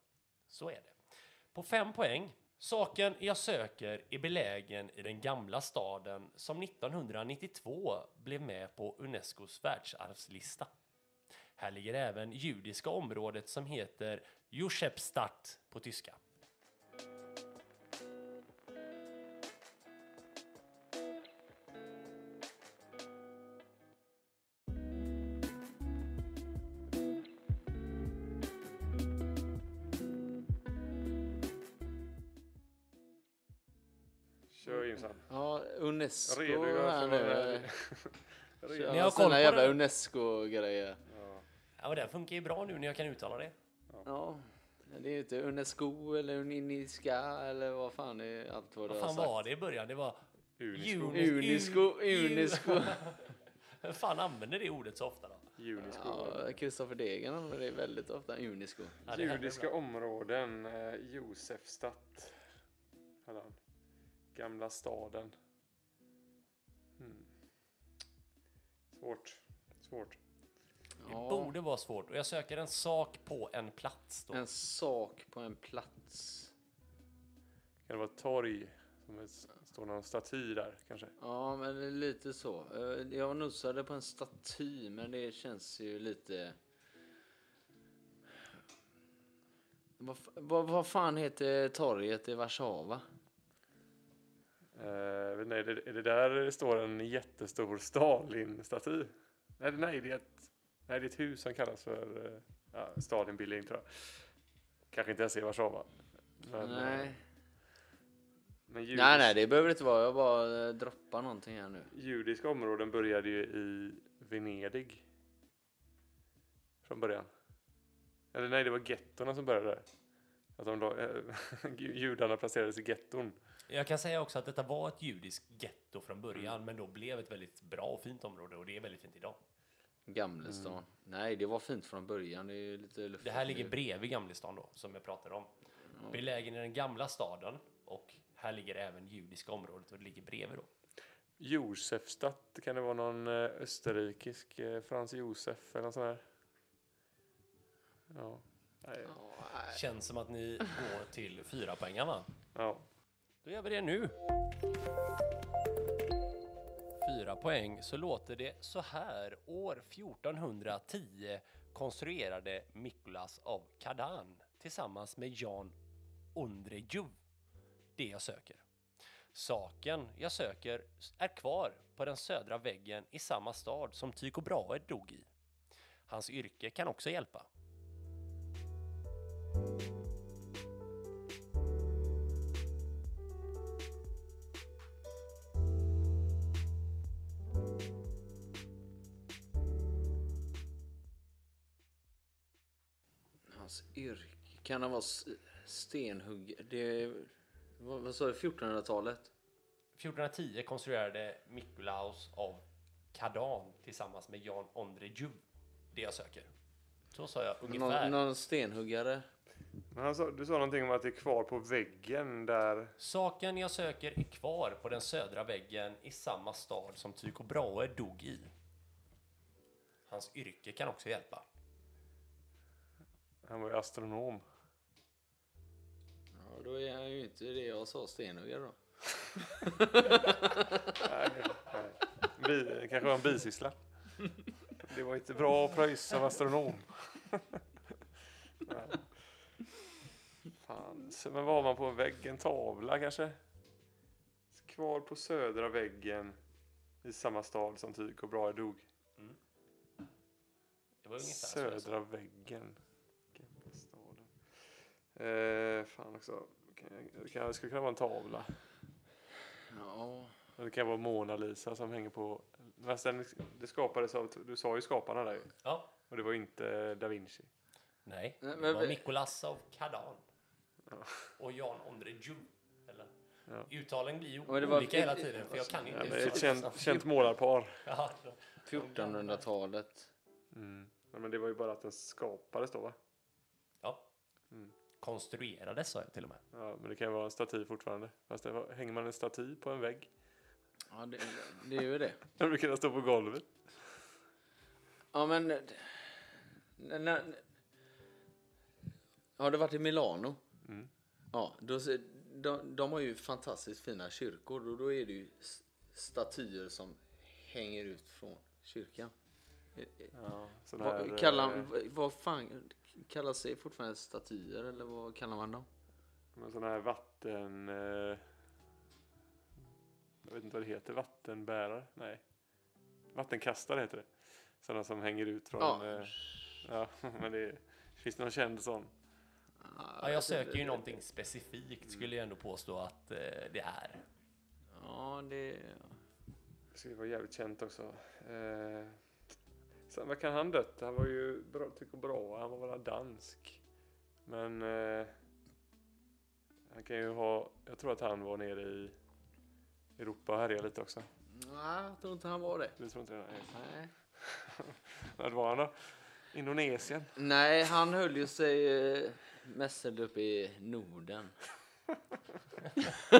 Speaker 1: Så är det. På fem poäng. Saken jag söker är belägen i den gamla staden som 1992 blev med på Unescos världsarvslista. Här ligger även judiska området som heter Josepstadt på tyska.
Speaker 2: Kör Jimsan.
Speaker 3: ja Unesco
Speaker 2: Redogör
Speaker 3: här
Speaker 2: för vad
Speaker 3: nu.
Speaker 2: det är.
Speaker 1: Ni
Speaker 2: Redogör.
Speaker 1: har
Speaker 3: Alla
Speaker 1: koll på
Speaker 3: sina jävla
Speaker 1: det?
Speaker 3: Unesco-grejer.
Speaker 2: Ja.
Speaker 1: Ja, och den funkar ju bra nu när jag kan uttala det.
Speaker 3: Ja, det är ju inte Unesco eller Uniniska eller vad fan är allt vad du
Speaker 1: Vad
Speaker 3: har
Speaker 1: fan
Speaker 3: sagt.
Speaker 1: var det i början? Det var
Speaker 2: Unisco.
Speaker 1: Uni-
Speaker 3: Unisco,
Speaker 1: U- [laughs]
Speaker 3: Unisco.
Speaker 1: Vem fan använder det ordet så ofta då?
Speaker 2: Unisco.
Speaker 3: Ja, Kristoffer Degen använder det väldigt ofta, Unisco.
Speaker 1: Ja, det händer
Speaker 2: Judiska
Speaker 1: bra.
Speaker 2: områden, eh, Josefstadt. hade han. Gamla staden. Hmm. Svårt. Svårt.
Speaker 1: Det
Speaker 3: Ja,
Speaker 1: borde vara svårt och jag söker en sak på en plats då.
Speaker 3: en sak på en plats.
Speaker 2: Kan det vara ett torg? Som det s- står någon staty där kanske?
Speaker 3: Ja, men det är lite så. Eh, Jag nosade på en staty, men det känns ju lite... Vad, f- vad, vad fan heter torget i Warszawa?
Speaker 2: Eh, men nej, är, det, är det där det står en jättestor Stalin-staty? Nej, nej, det är ett, nej, det är ett hus som kallas för eh, ja, Stalin-building tror jag. Kanske inte ens i Warszawa. Men, eh,
Speaker 3: Nej.
Speaker 2: Men judiskt-
Speaker 3: nej, nej, det behöver det inte vara. Jag bara eh, droppar någonting här nu.
Speaker 2: Judiska områden började ju i Venedig. Från början. Eller nej, det var gettorna som började där. Att de la, [laughs] judarna placerades i getton.
Speaker 1: Jag kan säga också att detta var ett judiskt getto från början, men då blev ett väldigt bra och fint område och det är väldigt fint idag.
Speaker 3: Gamlestan. Nej, det var fint från början. Det är ju lite luftigt
Speaker 1: Mm. Det här ligger
Speaker 3: nu.
Speaker 1: bredvid Gamlestan då, som jag pratade om. Belägen i den gamla staden och här ligger även judiska området och det ligger bredvid då.
Speaker 2: Josefstadt, kan det vara någon eh, österrikisk eh, Frans Josef eller något sånt där? Ja. Nej.
Speaker 3: Ja, nej.
Speaker 1: Känns som att ni går till fyra poängar va?
Speaker 2: ja.
Speaker 1: Då gör vi det nu. Fyra poäng så låter det så här. År 1410 konstruerade Mikolas av Kadan tillsammans med Jan Ondrejuv det jag söker. Saken jag söker är kvar på den södra väggen i samma stad som Tycho Brahe dog i. Hans yrke kan också hjälpa.
Speaker 3: Hans yrke. Kan han vara s- stenhugg... Det... Vad, vad sa du? 1400-talet?
Speaker 1: 1410 konstruerade Mikulaus av Kadan tillsammans med Jan Ondrejuv det jag söker. Så sa jag ungefär.
Speaker 3: Någon, någon stenhuggare?
Speaker 2: Men han sa, du sa någonting om att det är kvar på väggen där.
Speaker 1: Saken jag söker är kvar på den södra väggen i samma stad som Tycho Brahe dog i. Hans yrke kan också hjälpa.
Speaker 2: Han var ju astronom.
Speaker 3: Ja, då är han ju inte det jag sa, stenhuggare då.
Speaker 2: Bi, kanske var en bisyssla. Det var inte bra att pröjsa som astronom. Nej. Fan. så- Men vad har man på en vägg? En tavla kanske? Kvar på södra väggen i samma stad som Tycho Brahe dog.
Speaker 1: Det var ungefär så jag sa.
Speaker 2: Södra väggen. Eh, fan också. Kan- Det kan- det skulle kunna vara en tavla.
Speaker 3: Ja.
Speaker 2: Eller Det kan vara Mona Lisa som hänger på... Men sen, det skapades av... Du sa ju skaparna där ju.
Speaker 1: Ja.
Speaker 2: Och det var inte da Vinci.
Speaker 1: Nej,
Speaker 3: Nej,
Speaker 1: det
Speaker 3: men
Speaker 1: var
Speaker 3: vi-
Speaker 1: Nicolas av Kadan.
Speaker 2: Ja.
Speaker 1: Och Jan Ondreju. Eller?
Speaker 2: Ja.
Speaker 1: Uttalen blir ju
Speaker 3: Ja, men det var-
Speaker 1: olika hela tiden, för jag kan
Speaker 2: Ja,
Speaker 1: inte
Speaker 2: men det är ett
Speaker 1: uttala
Speaker 2: känt, känt målarpar.
Speaker 1: Ja,
Speaker 3: 1400-talet.
Speaker 2: Mm. Ja, men det var ju bara att den skapades då va?
Speaker 1: ja.
Speaker 2: Mm.
Speaker 1: Konstruerades sa jag till och med.
Speaker 2: Ja, men det kan ju vara en staty fortfarande. Fast det var, hänger man en staty på en vägg? [laughs]
Speaker 3: Ja, det, det är ju det.
Speaker 2: Den brukar den stå på golvet.
Speaker 3: Ja, men... d- När, när, har du varit i Milano?
Speaker 2: Mm.
Speaker 3: Ja, då, se- de, de har ju fantastiskt fina kyrkor och då är det ju s- statyer som hänger ut från kyrkan. Eh, eh,
Speaker 2: Ja, sån här,
Speaker 3: Vad, kallar,
Speaker 2: eh,
Speaker 3: vad- vad fan kallas det fortfarande statyer eller vad kallar man dem?
Speaker 2: Men sån här vatten... Eh, jag vet inte vad det heter. Vattenbärare? Nej. Vattenkastare heter det. Sådana som hänger ut från...
Speaker 3: Ja.
Speaker 2: Eh, ja, [laughs] men det finns någon känd sån.
Speaker 1: Ja, jag
Speaker 3: alltså,
Speaker 1: söker ju någonting specifikt skulle jag ändå påstå att eh, det är.
Speaker 3: Ja, det...
Speaker 2: Det skulle vara jävligt känt också. Eh, sen vad kan han dött? Han var ju bra, tycker bra. Han var väl dansk. Men eh, han kan ju ha... Jag tror att han var nere i Europa och härjade lite också.
Speaker 3: Nej, jag tror inte han var det.
Speaker 2: Du tror inte det? Nej.
Speaker 3: Nej.
Speaker 2: Vad var han då? Indonesien?
Speaker 3: Nej, han höll ju sig eh, mest upp i Norden.
Speaker 2: [laughs]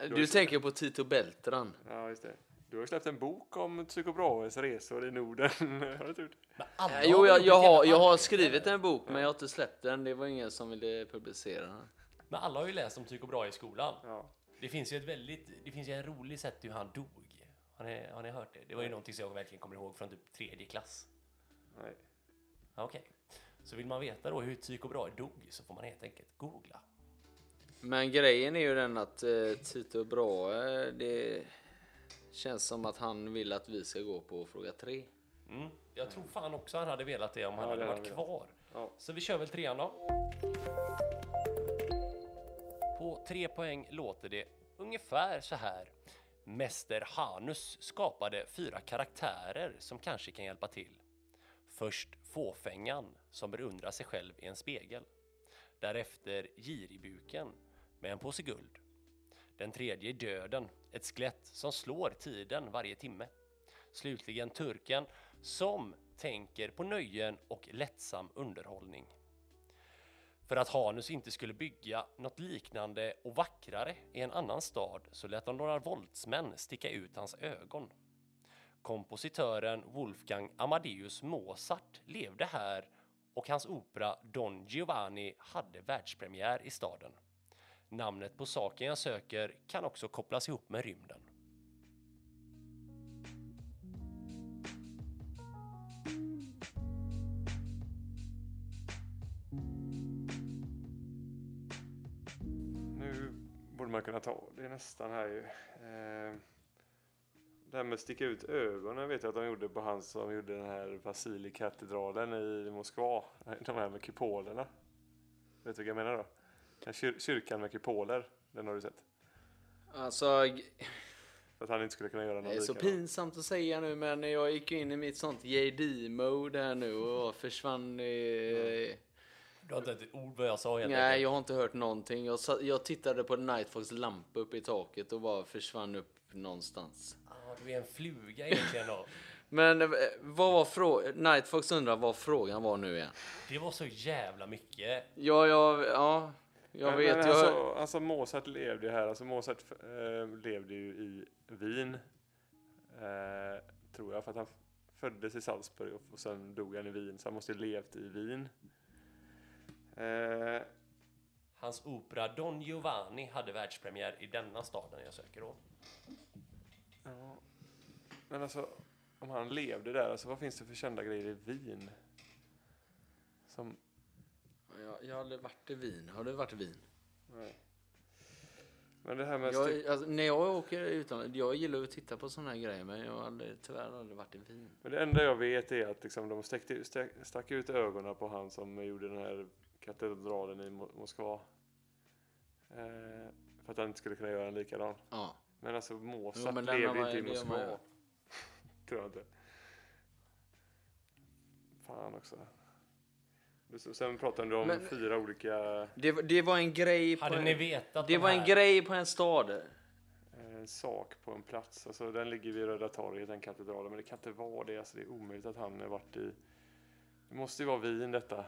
Speaker 2: Ja.
Speaker 3: Du tänker på Tito Beltran.
Speaker 2: ja, just det. Du har ju släppt en bok om Tycho Brahes resor i Norden. [laughs] har du inte gjort?
Speaker 1: Men alla
Speaker 3: Eh,
Speaker 1: har gjort
Speaker 3: Jo, jag, jag,
Speaker 1: ett jävla
Speaker 3: har, jag har
Speaker 1: arbete.
Speaker 3: skrivit en bok, men jag har inte släppt den. Det var ingen som ville publicera den.
Speaker 1: Men alla har ju läst om Tycho Brahe i skolan.
Speaker 2: Ja.
Speaker 1: Det finns ju ett väldigt, det finns ju en rolig sätt hur han dog. Har ni, har ni hört det? Det var ju någonting som jag verkligen kommer ihåg från typ tredje klass.
Speaker 2: Nej.
Speaker 1: Ja, Okej. Så vill man veta då hur Tycho Brahe dog så får man helt enkelt googla.
Speaker 3: Men grejen är ju den att eh, Tito Brahe, det känns som att han vill att vi ska gå på fråga tre.
Speaker 1: Mm. Jag tror fan också han hade velat det om han
Speaker 2: Ja,
Speaker 1: hade
Speaker 2: det
Speaker 1: varit
Speaker 2: hade han
Speaker 1: kvar.
Speaker 2: Ja.
Speaker 1: Så vi kör väl trean då. På tre poäng låter det ungefär så här. Mäster Hanus skapade fyra karaktärer som kanske kan hjälpa till. Först fåfängan som beundrar sig själv i en spegel. Därefter giribuken med en påse guld. Den tredje är döden, ett skelett som slår tiden varje timme. Slutligen turken som tänker på nöjen och lättsam underhållning. För att Hanus inte skulle bygga något liknande och vackrare i en annan stad så lät de några våldsmän sticka ut hans ögon. Kompositören Wolfgang Amadeus Mozart levde här och hans opera Don Giovanni hade världspremiär i staden. Namnet på saken jag söker kan också kopplas ihop med rymden.
Speaker 2: Nu borde man kunna ta, det är nästan här ju. Eh, det här med att sticka ut ögonen vet jag att de gjorde på han som gjorde den här Vasilijkatedralen i Moskva. De här med kupolerna. Vet du vad jag menar då? Den här kyr- kyrkan med kupoler, den har du sett.
Speaker 3: Alltså, g-
Speaker 2: För att han inte skulle kunna göra något
Speaker 3: det är så
Speaker 2: likadant.
Speaker 3: pinsamt att säga nu, men jag gick ju in i mitt sånt JD-mode här nu och försvann i...
Speaker 1: Du har inte ett ord vad jag sa helt
Speaker 3: Nej,
Speaker 1: enkelt.
Speaker 3: jag har inte hört någonting. Jag, sa, jag tittade på Nightfox lampa uppe i taket och bara försvann upp någonstans.
Speaker 1: Ah, du är en fluga egentligen då.
Speaker 3: Men eh, vad var frågan? Nightfox undrar vad frågan var nu igen.
Speaker 1: Det var så jävla mycket.
Speaker 3: Ja, ja, ja. Jag
Speaker 2: Men-
Speaker 3: vet.
Speaker 2: men
Speaker 3: jag...
Speaker 2: alltså, alltså Mozart levde ju här. Alltså Mozart eh, levde ju i Wien. Eh, tror jag. För att han föddes i Salzburg och, och sen dog han i Wien. Så han måste ju levt i Wien. Eh,
Speaker 1: Hans opera Don Giovanni hade världspremiär i denna staden jag söker då.
Speaker 2: ja. Men alltså om han levde där. Alltså vad finns det för kända grejer i Wien? Som...
Speaker 3: Jag, jag har aldrig varit i Wien. Har du varit i Wien?
Speaker 2: Nej. Men det här med... styck-
Speaker 3: Jag, alltså, när jag åker utomlands, jag gillar ju att titta på sådana här grejer men jag har aldrig, tyvärr aldrig varit i Wien.
Speaker 2: Men det enda jag vet är att liksom, de stäckte, stäck, stack ut ögonen på han som gjorde den här katedralen i Mo- Moskva. Eh, för att han inte skulle kunna göra en likadan.
Speaker 3: Ja.
Speaker 2: Men alltså Mozart
Speaker 3: Jo, men den
Speaker 2: levde
Speaker 3: har-
Speaker 2: inte i
Speaker 3: det gör man
Speaker 2: Moskva.
Speaker 3: ju.
Speaker 2: [laughs] Tror jag inte. Fan också. Du- så- Sen pratade du om
Speaker 3: Men-
Speaker 2: fyra olika
Speaker 3: Det, var- det var en grej på
Speaker 1: Hade
Speaker 3: en,
Speaker 1: ni vetat
Speaker 3: det
Speaker 1: de
Speaker 3: var en
Speaker 1: här-
Speaker 3: grej på en stad.
Speaker 2: eh, sak på en plats. Alltså, den ligger vid Röda torget, den katedralen. Men det kan inte vara det. Alltså, det är omöjligt att han har varit i... Det måste ju vara Wien detta.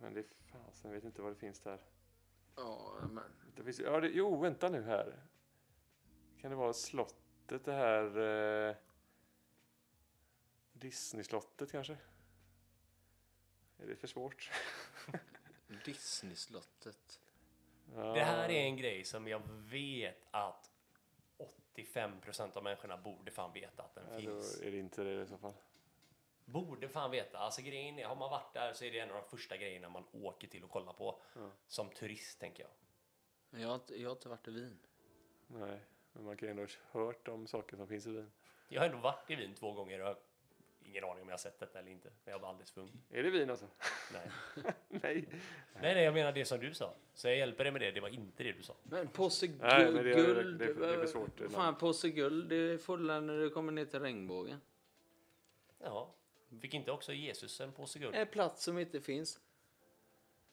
Speaker 2: Men det är fasen, jag vet inte vad det finns där.
Speaker 3: Ja, men
Speaker 2: Det finns, ja, det, jo, vänta nu här. Kan det vara slottet det här? Eh, Disney-slottet kanske? Är det för svårt?
Speaker 3: Disney-slottet.
Speaker 2: Ja.
Speaker 1: Det här är en grej som jag vet att 85% av människorna borde fan veta att den
Speaker 2: Ja,
Speaker 1: finns.
Speaker 2: då är det inte det i så fall.
Speaker 1: Borde fan veta. Alltså grejen är, har man varit där så är det en av de första grejerna man åker till och kollar på.
Speaker 2: Ja.
Speaker 1: Som turist tänker jag.
Speaker 3: Men Jag har, inte- jag har inte varit i Wien.
Speaker 2: Nej, men man kan ju ändå ha hört om saker som finns i Wien.
Speaker 1: Jag har ändå varit i Wien två gånger och jag har ingen aning om jag har sett detta eller inte. Men jag var alldeles för ung.
Speaker 2: Är det vin alltså? [laughs]
Speaker 3: [laughs]
Speaker 1: Nej.
Speaker 2: Nej.
Speaker 1: nej, nej, jag menar det som du sa. Så jag hjälper dig med det. Det var inte det du sa.
Speaker 3: Men påse guld.
Speaker 2: Nej, men det- det- det blir
Speaker 3: eh,
Speaker 2: svårt ibland.
Speaker 3: Fan, påse guld. Det får du när du kommer ner till regnbågen.
Speaker 1: Ja. Fick inte också Jesus en påse guld?
Speaker 3: En plats som inte finns.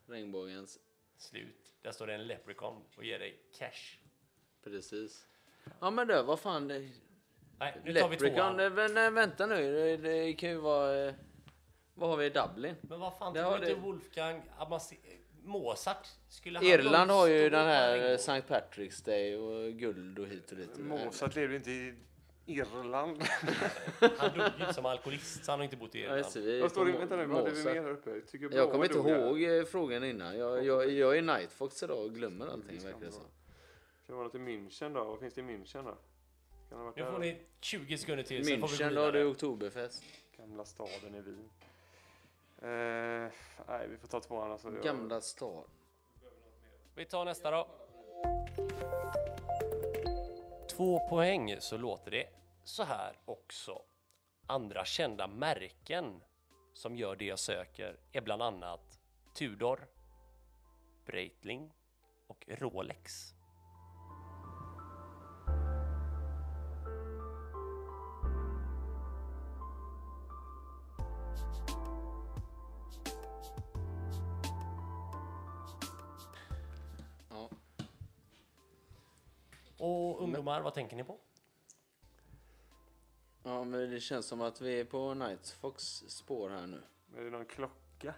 Speaker 3: Regnbågens.
Speaker 1: Slut. Där står det en leprechaun och ger dig cash.
Speaker 3: Precis. Ja, men då, vad fan. Det,
Speaker 1: Nej, nu tar vi
Speaker 3: Leprechaun.
Speaker 1: tvåan.
Speaker 3: eh, vä- Nej, vänta nu. Det, det kan ju vara... eh, Vad har vi i Dublin?
Speaker 1: Men vad fan
Speaker 3: Det
Speaker 1: tror
Speaker 3: har
Speaker 1: du inte
Speaker 3: det-
Speaker 1: Wolfgang Amasi... Mozart skulle ha
Speaker 3: Irland har ju
Speaker 1: stor
Speaker 3: den här eh,
Speaker 1: regnbåge?
Speaker 3: St. Patrick's Day och guld och hit och dit.
Speaker 2: Mozart lever ju inte i Irland.
Speaker 1: Han dog ju som alkoholist så han har inte bott i
Speaker 3: Ja,
Speaker 1: Irland.
Speaker 3: just det, vi är
Speaker 2: Vad står det?
Speaker 3: på
Speaker 2: Vänta nu, vad
Speaker 3: Mozart.
Speaker 2: hade vi mer här uppe? Tycker
Speaker 3: Jag kommer inte
Speaker 2: dog här.
Speaker 3: ihåg eh, frågan innan. Jag, jag, jag är Nightfox idag och glömmer allting
Speaker 2: Det
Speaker 3: verkar
Speaker 2: ska
Speaker 3: det som.
Speaker 2: vara. Kan det vara något i München då? Vad finns det i München då? Kan det ha varit
Speaker 1: Nu får
Speaker 2: där?
Speaker 1: ni 20 sekunder till sen får vi gå
Speaker 3: München, då har
Speaker 1: vidare.
Speaker 3: du Oktoberfest.
Speaker 2: Gamla staden i Wien. Eh, nej, vi får ta tvåan alltså. Jag-
Speaker 3: Gamla stad.
Speaker 1: Vi tar nästa då. Två poäng så låter det så här också. Andra kända märken som gör det jag söker är bland annat Tudor, Breitling och Rolex.
Speaker 3: Ja.
Speaker 1: Och ungdomar, vad tänker ni på?
Speaker 3: ja, men det känns som att vi är på Nightfox spår här nu.
Speaker 2: Är det någon klocka?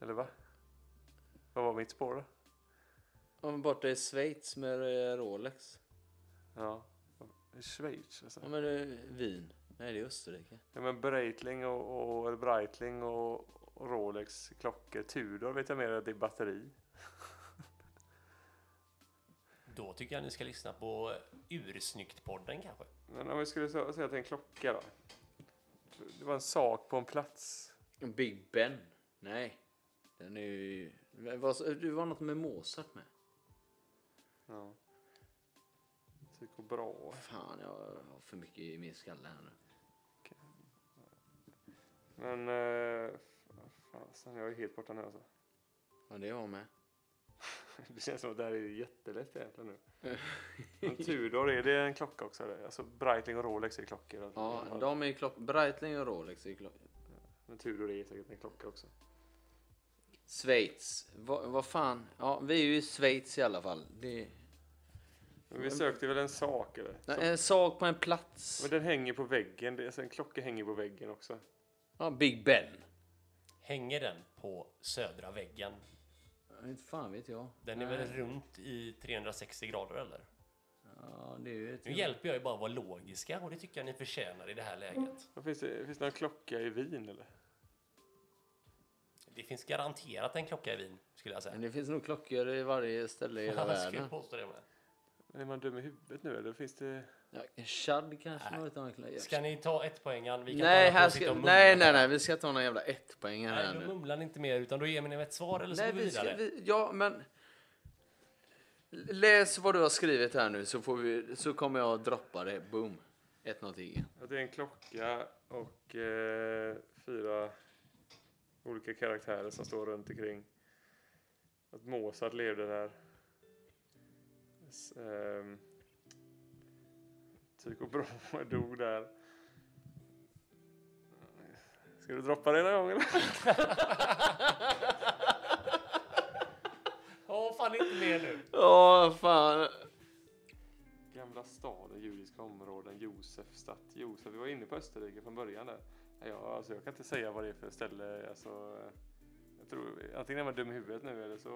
Speaker 2: Eller va? Vad var mitt spår då?
Speaker 3: Om borta i Schweiz med eh, Rolex.
Speaker 2: Ja. I Schweiz alltså.
Speaker 3: Ja, men det är Wien. Nej, det är Österrike.
Speaker 2: Ja, men Breitling och, och eller Breitling och, och Rolex klockor. Tudor vet jag mer att det är batteri.
Speaker 1: Då tycker jag ni ska lyssna på Ursnyggt-podden kanske.
Speaker 2: Men om vi skulle sä- säga att det är en klocka då. Det var en sak på en plats.
Speaker 3: Big Ben. Nej. Den är ju... Det var, det var något med Mozart med.
Speaker 2: Ja. Tycho Brahe.
Speaker 3: Fan, jag har för mycket i min skalle här nu.
Speaker 2: Men... Eh, fasen, jag är helt borta nu alltså.
Speaker 3: Ja, det har jag med.
Speaker 2: [laughs] Det känns som att det här är jättelätt egentligen nu. Men Tudor, är det en klocka också? Eller? Alltså Breitling och Rolex är klockor. Alltså.
Speaker 3: Ja, de är ju klock... Breitling och Rolex är ju klock...
Speaker 2: Men Tudor är säkert en klocka också.
Speaker 3: Schweiz. Va- Vad fan? Ja, vi är ju i Schweiz i alla fall. Det...
Speaker 2: Men vi sökte väl en sak eller?
Speaker 3: Nej, en sak på en plats.
Speaker 2: Men den hänger på väggen. Det är, alltså, en klocka hänger på väggen också.
Speaker 3: Ja, Big Ben.
Speaker 1: Hänger den på södra väggen?
Speaker 3: Ja, Inte fan vet jag.
Speaker 1: Den är väl runt i 360 grader eller?
Speaker 3: Ja, det är ju ett...
Speaker 1: Nu hjälper jag ju bara att vara logiska och det tycker jag ni förtjänar i det här
Speaker 3: Mm.
Speaker 1: läget.
Speaker 2: Vad Finns det, finns det någon klocka i Wien eller?
Speaker 1: Det finns garanterat en klocka i Wien skulle jag
Speaker 3: Men
Speaker 1: säga.
Speaker 3: det finns nog klockor i varje ställe i hela
Speaker 1: [laughs] Jag skulle
Speaker 3: världen.
Speaker 1: påstå det med.
Speaker 2: Men är man dum i huvudet nu eller? Finns det...
Speaker 3: Ja, Chad kanske har ett annat klockor.
Speaker 1: Ska ni ta ett poängen? Vi kan
Speaker 3: Nej,
Speaker 1: inte hålla på
Speaker 3: här
Speaker 1: och sitta
Speaker 3: ska...
Speaker 1: och
Speaker 3: nej,
Speaker 1: mumla.
Speaker 3: nej, nej, vi ska ta några jävla ett poäng här
Speaker 1: Nej,
Speaker 3: nu.
Speaker 1: då mumlar ni inte mer utan då ger ni mig ett svar eller så
Speaker 3: Nej,
Speaker 1: går vi
Speaker 3: vi ska,
Speaker 1: vidare.
Speaker 3: vi, ja, men Läs vad du har skrivit här nu så, får vi, så kommer jag att droppa det. Boom. 1-0 till Igge.
Speaker 2: Att det är en klocka och eh, fyra olika karaktärer som står runt omkring. Att Mozart levde där. S- ehm, Tycho Brahe [laughs] dog där. Ska du droppa det någon gång eller?
Speaker 1: Åh, fan inte mer nu.
Speaker 3: Åh, fan.
Speaker 2: Gamla staden, judiska områden, Josefstadt, Josef. Vi var inne på Österrike från början där. Nej, Jag, alltså, jag kan inte säga vad det är för ställe. Alltså, jag tror, antingen är man dum i huvudet nu eller så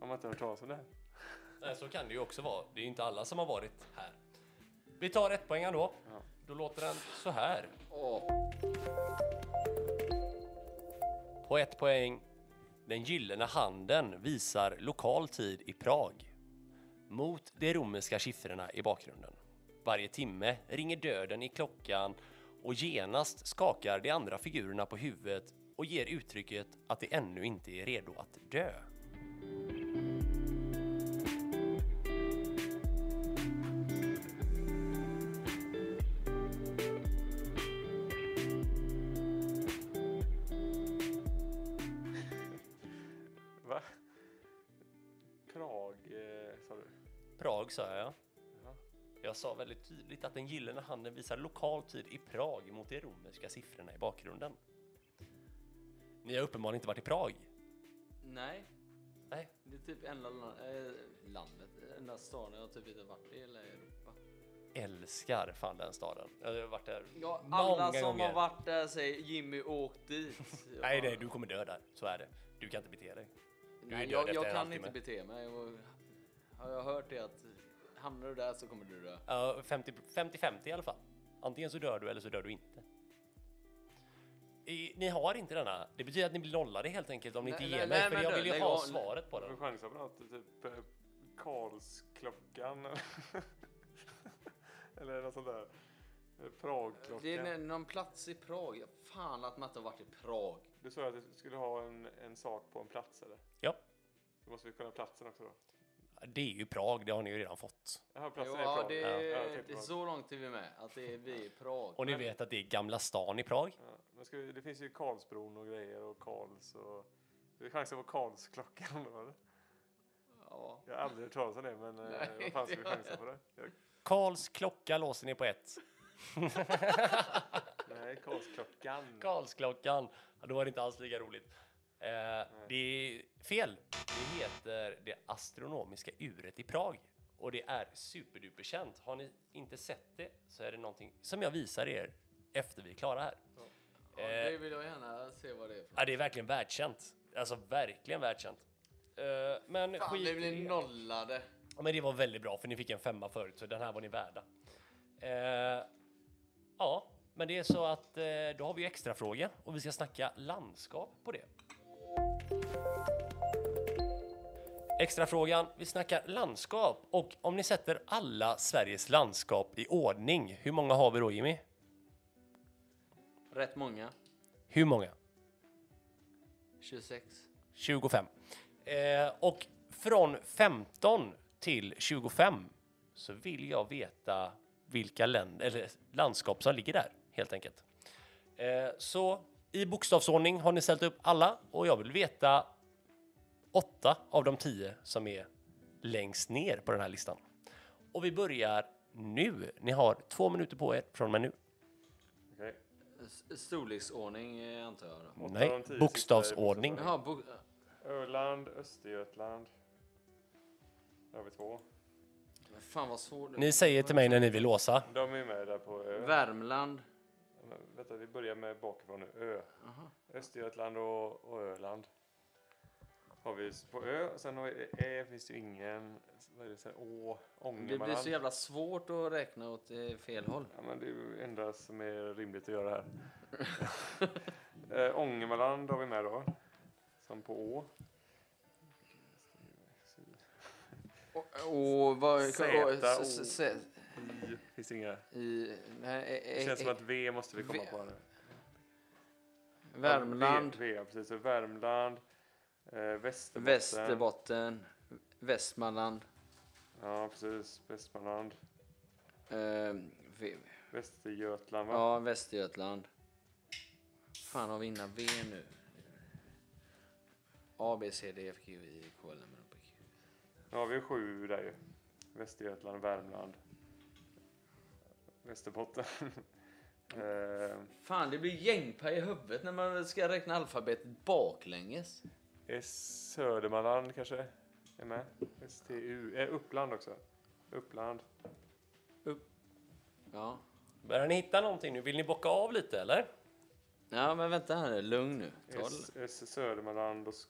Speaker 2: har man inte hört talas om det här.
Speaker 1: Nej, så kan det ju också vara. Det är ju inte alla som har varit här. Vi tar ett poäng då.
Speaker 2: Ja.
Speaker 1: Då låter den så här.
Speaker 3: Åh.
Speaker 1: På ett poäng. Den gyllene handen visar lokal tid i Prag. Mot de romerska siffrorna i bakgrunden. Varje timme ringer döden i klockan och genast skakar de andra figurerna på huvudet och ger uttrycket att de ännu inte är redo att dö.
Speaker 2: Va? Prag, eh, sa du?
Speaker 1: Prag sa jag.
Speaker 2: Jaha.
Speaker 1: Jag sa väldigt tydligt att den gyllene handen visar lokal tid i Prag mot de romerska siffrorna i bakgrunden. Ni har uppenbarligen inte varit i Prag.
Speaker 3: Nej.
Speaker 1: Nej.
Speaker 3: Det är typ enda la- eh, landet, enda staden jag typ inte varit i hela Europa.
Speaker 1: Älskar fan den staden. Jag har varit där
Speaker 3: Ja, alla
Speaker 1: många
Speaker 3: som
Speaker 1: gånger.
Speaker 3: har varit där säger Jimmy åk [laughs] dit. Jag
Speaker 1: Nej,
Speaker 3: bara,
Speaker 1: nej, du kommer dö där. Så är det. Du kan inte bete dig. du är
Speaker 3: nej,
Speaker 1: död
Speaker 3: jag,
Speaker 1: efter
Speaker 3: jag
Speaker 1: en
Speaker 3: kan
Speaker 1: halvtimme.
Speaker 3: inte bete mig. Och, har jag hört det att hamnar du där så kommer du dö.
Speaker 1: Ja, 50 50-50 i alla fall. Antingen så dör du eller så dör du inte. I, ni har inte denna. Det betyder att ni blir nollade helt enkelt om ni
Speaker 3: Nej,
Speaker 1: inte
Speaker 3: nej,
Speaker 1: ger
Speaker 3: nej,
Speaker 1: mig. För
Speaker 3: men
Speaker 1: jag
Speaker 3: du,
Speaker 1: vill ju
Speaker 3: lägg
Speaker 1: ha
Speaker 3: av.
Speaker 1: svaret på
Speaker 2: Du
Speaker 1: den.
Speaker 2: får chansa på något, typ eh, Karlsklockan eller [laughs] något sånt där. Eh,
Speaker 3: Det är
Speaker 2: Pragklockan.
Speaker 3: nä- någon plats i Prag. Fan att man inte har varit i Prag.
Speaker 2: Du sa att du skulle ha en, en sak på en plats eller?
Speaker 1: Ja,
Speaker 2: Då måste vi kolla platsen också då.
Speaker 1: det är ju Prag. Det har ni ju redan fått.
Speaker 2: Jaha, platsen
Speaker 3: Jo,
Speaker 2: är
Speaker 3: ja,
Speaker 2: Prag.
Speaker 3: det,
Speaker 2: Ja, jag
Speaker 3: är
Speaker 2: tänkte
Speaker 3: det är
Speaker 2: bara-
Speaker 3: så långt är vi med. Att det är vi i Prag.
Speaker 1: Och ni vet att det är Gamla stan i Prag.
Speaker 2: Ja, men ska vi, det finns ju Karlsbron och grejer och Karls och... Vi chansar på Karlsklockan då eller?
Speaker 3: Ja.
Speaker 2: Jag har aldrig hört talas om det men eh,
Speaker 3: Nej,
Speaker 2: vad fan ska
Speaker 3: det
Speaker 2: vi
Speaker 3: har
Speaker 2: chansa på
Speaker 3: [laughs]
Speaker 2: det? Jag,
Speaker 1: Karls klocka låser ni på ett.
Speaker 2: nej, Karlsklockan.
Speaker 1: Karlsklockan. Ja, Då var det inte alls lika roligt. Eh, det är fel. Det heter det astronomiska uret i Prag och det är superduperkänt. Har ni inte sett det så är det någonting som jag visar er efter vi är klara här.
Speaker 3: Ja, det
Speaker 2: Eh.
Speaker 3: vill jag gärna se vad det är. För.
Speaker 1: Ja, det är verkligen världskänt. Alltså verkligen världskänt. Eh, men
Speaker 3: Fan,
Speaker 1: skit
Speaker 3: vi
Speaker 1: i det.
Speaker 3: blir nollade.
Speaker 1: Ja, Men det var väldigt bra för ni fick en femma förut så den här var ni värda. Eh, ja, men det är så att eh, då har vi ju extra fråga och vi ska snacka landskap på det. Extrafrågan, vi snackar landskap och om ni sätter alla Sveriges landskap i ordning, hur många har vi då Jimmy?
Speaker 3: Rätt många.
Speaker 1: Hur många?
Speaker 3: 26.
Speaker 1: 25. Eh, och från 15 till 25 så vill jag veta vilka länder, eller landskap som ligger där helt enkelt. Eh, så i bokstavsordning har ni ställt upp alla och jag vill veta åtta av de tio som är längst ner på den här listan. Och vi börjar nu. Ni har två minuter på er från och med nu.
Speaker 2: Okej.
Speaker 3: S- Storleksordning eh, antar jag. Då.
Speaker 2: Åtta av
Speaker 1: Nej,
Speaker 2: de tio
Speaker 1: bokstavsordning.
Speaker 2: sista är
Speaker 3: Jaha, bo- eh,
Speaker 2: Öland, Östergötland. Där har vi två.
Speaker 3: fan vad svårt.
Speaker 1: Ni säger till mig när ni vill låsa.
Speaker 2: De är med där på ö.
Speaker 3: Värmland.
Speaker 2: Men Vänta, vi börjar med bakifrån nu. Ö. Östergötland och, och Öland. Har vi s- på ö. Sen har vi Ä, finns det ju ingen. Vad är det sen? Å,
Speaker 3: Det blir
Speaker 2: Ångermanland.
Speaker 3: så jävla svårt att räkna åt eh, fel håll.
Speaker 2: Ja, men det är ju det enda som är rimligt att göra här. eh, Ångermanland har vi med då. Som på Å.
Speaker 3: Och, och vad...
Speaker 2: Zäta,
Speaker 3: och- s- s- s-
Speaker 2: I, finns det inga.
Speaker 3: I, nej,
Speaker 2: Det
Speaker 3: eh,
Speaker 2: känns
Speaker 3: eh,
Speaker 2: som att V måste vi komma
Speaker 3: V-
Speaker 2: på nu.
Speaker 3: Värmland,
Speaker 2: V, v, precis. Så Värmland. Eh, Västerbotten.
Speaker 3: Västerbotten, Västmanland,
Speaker 2: Ja, precis. Västmanland.
Speaker 3: Eh, v-
Speaker 2: Västergötland, va?
Speaker 3: ja, Västergötland. fan har vi innan V nu? A, B, C, D, F, G, I, K, L, M, N, O, P, Q.
Speaker 2: Nu har vi sju där ju. Västergötland, Värmland, Västerbotten. [laughs] eh,
Speaker 3: Fan, det blir gängpaj i huvudet när man ska räkna alfabetet baklänges.
Speaker 2: S- Södermanland kanske är med. STU. Eh, Uppland också. Uppland.
Speaker 3: Ja.
Speaker 1: Börjar ni hitta någonting nu? Vill ni bocka av lite eller?
Speaker 3: Ja, men vänta här nu. Lugn nu. Ta det
Speaker 2: S, S Södermanland och s-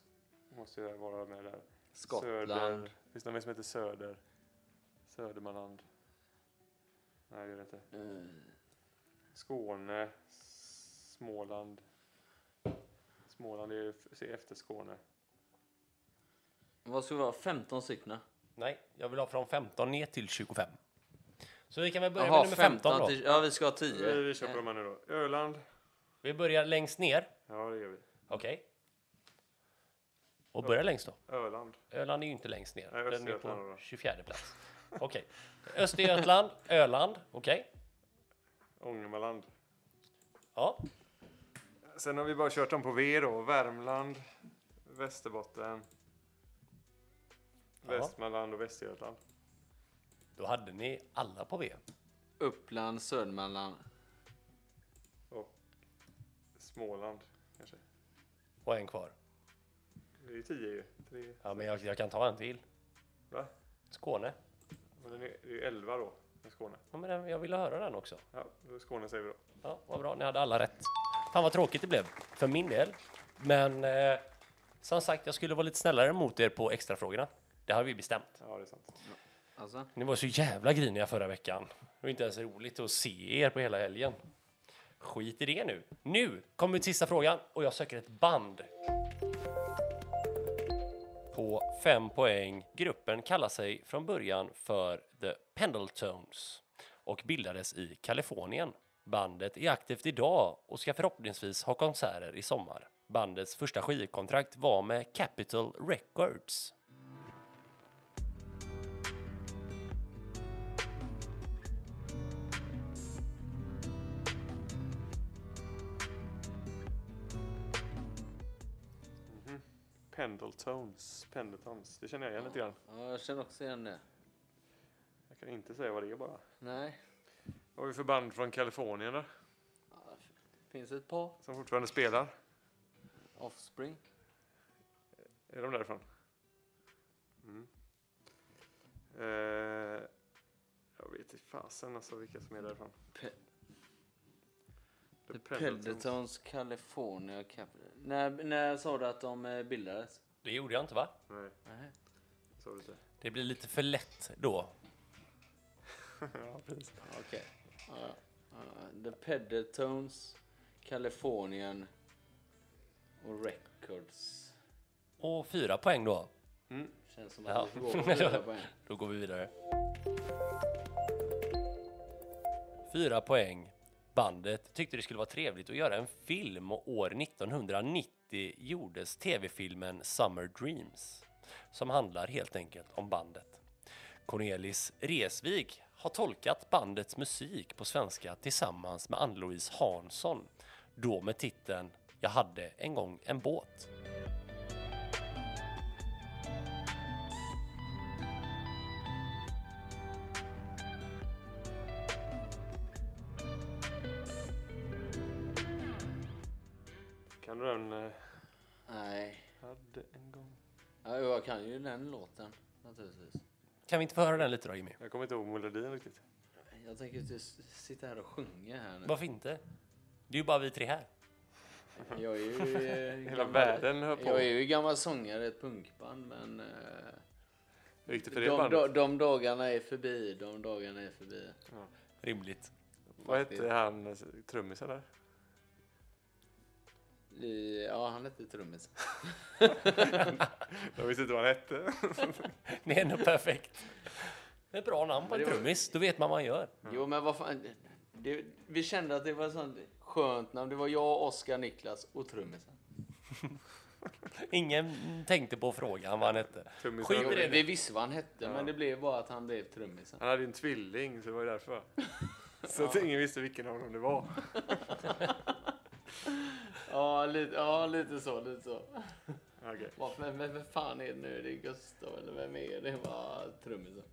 Speaker 2: måste jag vara med där.
Speaker 3: Skottland.
Speaker 2: Söder. Finns det någon mer som heter Söder? Södermanland. Nej, det gör det inte.
Speaker 3: Eh,
Speaker 2: Skåne. S- Småland. Småland är ju f- efter Skåne.
Speaker 3: vad ska vi ha? 15 stycken?
Speaker 1: Nej, jag vill ha från 15 ner till 25. Så vi kan väl börja
Speaker 3: Jaha,
Speaker 1: med nummer 15
Speaker 3: 15
Speaker 1: då.
Speaker 3: till, Ja, vi ska ha Eh, 10.
Speaker 2: Eh, Vi, vi kör på de här nu då. Öland.
Speaker 1: Vi börjar längst ner.
Speaker 2: Ja, det gör vi.
Speaker 1: Okej. Och börja längst då.
Speaker 2: Öland.
Speaker 1: Öland är ju inte längst ner.
Speaker 2: Nej,
Speaker 1: Den är
Speaker 2: Östergötland
Speaker 1: på
Speaker 2: då.
Speaker 1: 24 plats. Okej. Östergötland, Öland. Okej.
Speaker 2: Ångermanland.
Speaker 1: Ja.
Speaker 2: Sen har vi bara kört dem på V då. Värmland, Västerbotten,
Speaker 1: Ja.
Speaker 2: Västmanland och Västergötland.
Speaker 1: Då hade ni alla på V.
Speaker 3: Uppland, Södermanland.
Speaker 2: Och Småland kanske.
Speaker 1: Och en kvar.
Speaker 2: Det är ju tio ju. Tre.
Speaker 1: Ja, men jag, jag kan ta en till.
Speaker 2: Va?
Speaker 1: Skåne.
Speaker 2: Men den är, det är ju elva då. Med Skåne.
Speaker 1: Ja, men den- jag ville höra den också.
Speaker 2: Ja, då är Skåne säger vi då.
Speaker 1: Ja, vad bra, ni hade alla rätt. Fan vad tråkigt det blev, för min del. Men eh, som sagt, jag skulle vara lite snällare mot er på extrafrågorna. Det har vi bestämt.
Speaker 2: Ja, det är sant.
Speaker 3: Alltså.
Speaker 1: Ni var så jävla griniga förra veckan. Det var inte ens roligt att se er på hela helgen. Skit i det nu. Nu kommer vi till sista frågan och jag söker ett band. På fem poäng. Gruppen kallar sig från början för The Pendletones och bildades i Kalifornien. Bandet är aktivt idag och ska förhoppningsvis ha konserter i sommar. Bandets första skivkontrakt var med Capitol Records.
Speaker 2: Pendletones. Pendletons. Det känner jag igen lite grann.
Speaker 3: Ja, jag känner också igen det.
Speaker 2: Jag kan inte säga vad det är bara.
Speaker 3: Nej.
Speaker 2: Vad har vi för band från Kalifornien då?
Speaker 3: Ja, finns ett par.
Speaker 2: Som fortfarande spelar?
Speaker 3: Offspring.
Speaker 2: Är de därifrån? Mm. Eh, jag vet inte fasen alltså vilka som är därifrån.
Speaker 3: Pe-
Speaker 2: The
Speaker 3: The
Speaker 2: Pendletons.
Speaker 3: Pendletons, California Capital. När, när sa du att de eh, bildades?
Speaker 1: Det gjorde jag inte va?
Speaker 2: Nej,
Speaker 3: Nej.
Speaker 2: det sa du inte.
Speaker 1: Det blir lite för lätt då.
Speaker 2: [laughs] ja, precis.
Speaker 3: Okej. Ja, ja. The Pendletons, Kalifornien och Records.
Speaker 1: Och fyra poäng då.
Speaker 3: Känns som
Speaker 1: Ja.
Speaker 3: att vi går vidare på en.
Speaker 1: Då går vi vidare. Fyra poäng. Bandet tyckte det skulle vara trevligt att göra en film och år 1990 gjordes tv-filmen Summer Dreams som handlar helt enkelt om bandet. Cornelis Resvig har tolkat bandets musik på svenska tillsammans med Ann-Louise Hansson, då med titeln Jag hade en gång en båt.
Speaker 2: Kan du den? eh,
Speaker 3: [laughs] Nej.
Speaker 2: hade en gång.
Speaker 3: Ja, jo, jag kan ju den låten naturligtvis.
Speaker 1: Kan vi inte få höra den lite då Jimmy?
Speaker 2: Jag kommer inte ihåg melodin riktigt.
Speaker 3: Jag tänker inte s- sitta här och sjunga här nu.
Speaker 1: Varför inte? Det är ju bara vi tre här.
Speaker 3: Jag är ju eh,
Speaker 2: Hela
Speaker 3: gammal-
Speaker 2: världen hör på.
Speaker 3: Jag är ju gammal sångare i ett punkband men eh,
Speaker 2: Hur gick det för det
Speaker 3: de,
Speaker 2: bandet?
Speaker 3: de, de dagarna är förbi, de dagarna är förbi.
Speaker 1: Rimligt.
Speaker 2: Vad hette han eh, trummisen där?
Speaker 3: I, ja, han hette trummis.
Speaker 2: Jag visste inte vad han hette.
Speaker 1: [laughs] Det är nog perfekt. Det är ett bra namn på en
Speaker 3: Men det var-
Speaker 1: trummis. Då vet man vad man gör.
Speaker 3: Jo men vad fan. Det, vi kände att det var ett sånt skönt namn. Det var jag, Oskar, Niklas och trummisen.
Speaker 1: Ingen tänkte på frågan vad han hette.
Speaker 2: Trummisen.
Speaker 1: Skit i det.
Speaker 3: Vi visste vad han hette,
Speaker 2: Ja.
Speaker 3: men det blev bara att han blev trummisen.
Speaker 2: Han hade ju en tvilling, så det var ju
Speaker 3: [laughs]
Speaker 2: därför. Så att ingen visste vilken av dem det var.
Speaker 3: Ja, lite, ja, lite så, lite så.
Speaker 2: Okej.
Speaker 3: Vad- Men vem vem fan är det nu? Det är Gustav eller vem är det? Det var trummisen.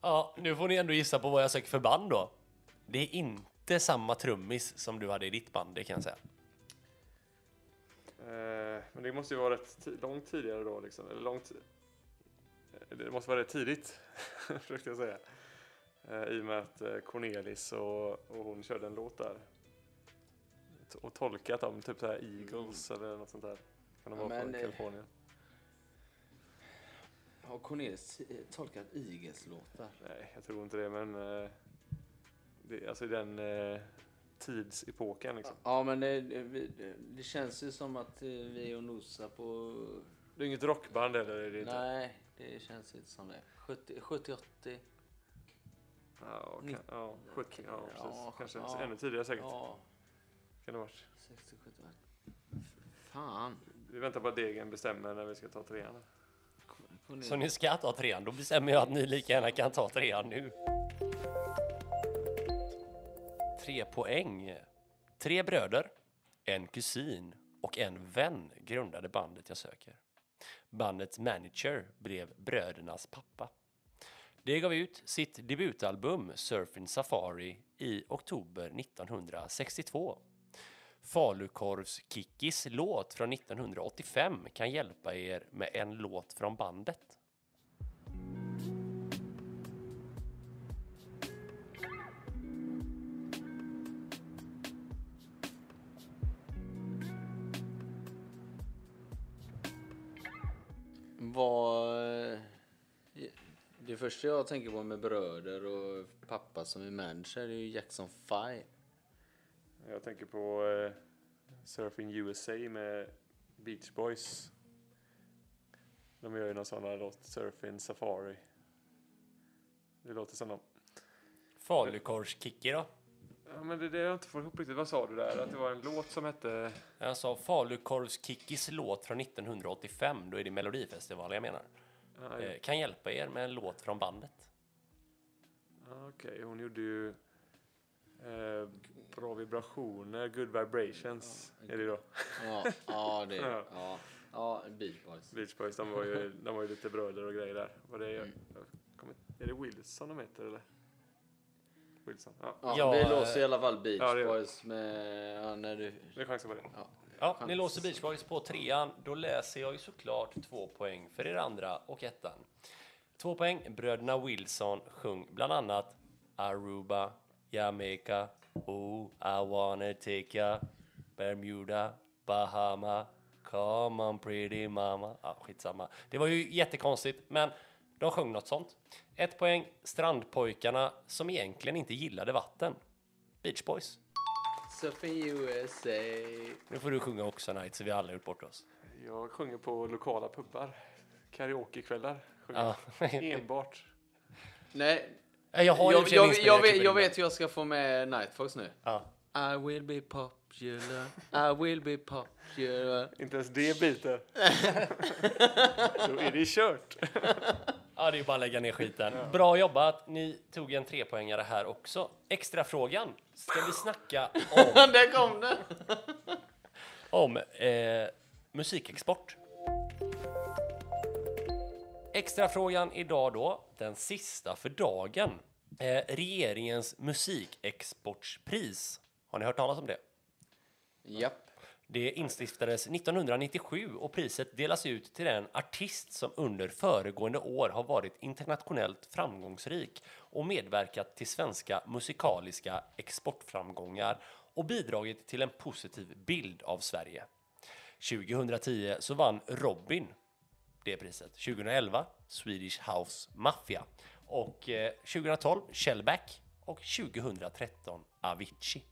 Speaker 1: Ja, nu får ni ändå gissa på vad jag söker för band då. Det är inte samma trummis som du hade i ditt band, det kan jag säga.
Speaker 2: Eh, Men det måste ju vara rätt ti- långt tidigare då, liksom. Eller långt... eh, Det måste vara rätt tidigt, [laughs] försökte jag säga. Eh, I och med att eh, Cornelis och, och hon körde en låt där. T- Och tolkat om typ så här Eagles eller något sånt där. Kan de
Speaker 3: Mm. Ja,
Speaker 2: vara
Speaker 3: men eh,
Speaker 2: från
Speaker 3: det-
Speaker 2: Kalifornien?
Speaker 3: Har Cornelis eh, tolkat Igels låtar?
Speaker 2: Nej, jag tror inte det, men... eh, Det, alltså i den eh, tidsepoken liksom.
Speaker 3: Ja, men det, det- vi- det, det känns ju som att eh, vi är och nosar på...
Speaker 2: Det är inget rockband eller? Är det inte?
Speaker 3: Nej, det känns inte som det. 70, 70 80.
Speaker 2: Ja, kan,
Speaker 3: Nitt-
Speaker 2: ja, 70, ja, precis.
Speaker 3: ja,
Speaker 2: Kanske
Speaker 3: ja.
Speaker 2: ännu tidigare säkert.
Speaker 3: Ja,
Speaker 2: Kan det ha varit.
Speaker 3: 60, 70. Fan.
Speaker 2: Vi väntar på att degen bestämmer när vi ska ta trean.
Speaker 3: Cornelis.
Speaker 1: Så ni ska ta trean, då bestämmer jag att ni lika gärna kan ta trean nu. Tre poäng. Tre bröder, en kusin och en vän grundade bandet jag söker. Bandets manager blev brödernas pappa. Det gav ut sitt debutalbum Surfing Safari i oktober 1962. Falukorvs-Kickis låt från 1985 kan hjälpa er med en låt från bandet.
Speaker 3: Vad... eh, Det första jag tänker på med bröder och pappa som är manager är ju Jackson 5.
Speaker 2: Jag tänker på eh, Surfing USA med Beach Boys. De gör ju någon sån här låt, Surfing Safari. Det låter som dem.
Speaker 1: Falukorvskicki då?
Speaker 2: Ja, men det är det jag inte får ihop riktigt. Vad sa du där? Att det var en låt som hette...
Speaker 1: Jag sa Falukorvskickis låt från 1985, då är det Melodifestivalen jag menar.
Speaker 2: Ah, ja.
Speaker 1: Eh, kan hjälpa er med en låt från bandet.
Speaker 2: Ah, Okej, hon gjorde ju... Eh, bra vibrationer, good vibrations är det då.
Speaker 3: Ja, ja det
Speaker 2: Ja.
Speaker 3: ja. ja, Beach Boys.
Speaker 2: Beach Boys, de var ju, de var ju lite bröder och grejer där. Var det, jag, kommer, är det Wilson de heter eller? Wilson? Ja,
Speaker 3: Ja,
Speaker 1: Ja,
Speaker 3: vi
Speaker 1: eh,
Speaker 3: låser i alla fall Beach
Speaker 2: ja, det gör vi.
Speaker 3: Boys med... Ja, när du...
Speaker 2: vi chansar på det.
Speaker 3: Ja.
Speaker 1: Ja, ni
Speaker 3: Chans.
Speaker 1: låser Beach Boys på trean. Då läser jag ju såklart två poäng för er andra och ettan. Två poäng. Bröderna Wilson sjöng bland annat Aruba, Jamaica, Oh, I wanna take ya, Bermuda, Bahama, Come on pretty mama. Ja, skitsamma. Det var ju jättekonstigt, men de sjöng något sånt. Ett poäng. Strandpojkarna som egentligen inte gillade vatten. Beach Boys.
Speaker 3: Surfing USA.
Speaker 1: Nu får du sjunga också Night så vi alla gjort bort oss.
Speaker 2: Jag sjunger på lokala pubbar. Karaokekvällar. sjunger
Speaker 1: Ja.
Speaker 2: jag. Enbart.
Speaker 3: Nej,
Speaker 1: Eh, Jag har
Speaker 3: jag,
Speaker 1: i och för
Speaker 3: jag,
Speaker 1: sig en
Speaker 3: jag,
Speaker 1: inspelad
Speaker 3: vet, jag
Speaker 1: klipp
Speaker 3: vet hur jag ska få med Nightfox nu.
Speaker 1: Ja.
Speaker 3: I will be [laughs] popular, I will be popular.
Speaker 2: Inte ens det biter. Då är det kört.
Speaker 1: ja, det är bara att lägga ner skiten. Bra jobbat. Ni tog en trepoängare här också. Extra frågan. Ska vi snacka om,
Speaker 3: [laughs] Där kom den!
Speaker 1: om eh, musikexport? Extrafrågan idag då, den sista för dagen. Eh, regeringens musikexportpris. Har ni hört talas om det?
Speaker 3: Japp.
Speaker 1: Det instiftades 1997 och priset delas ut till den artist som under föregående år har varit internationellt framgångsrik och medverkat till svenska musikaliska exportframgångar och bidragit till en positiv bild av Sverige. 2010 så vann Robin det priset. 2011 Swedish House Mafia och eh, 2012 Shellback och 2013 Avicii.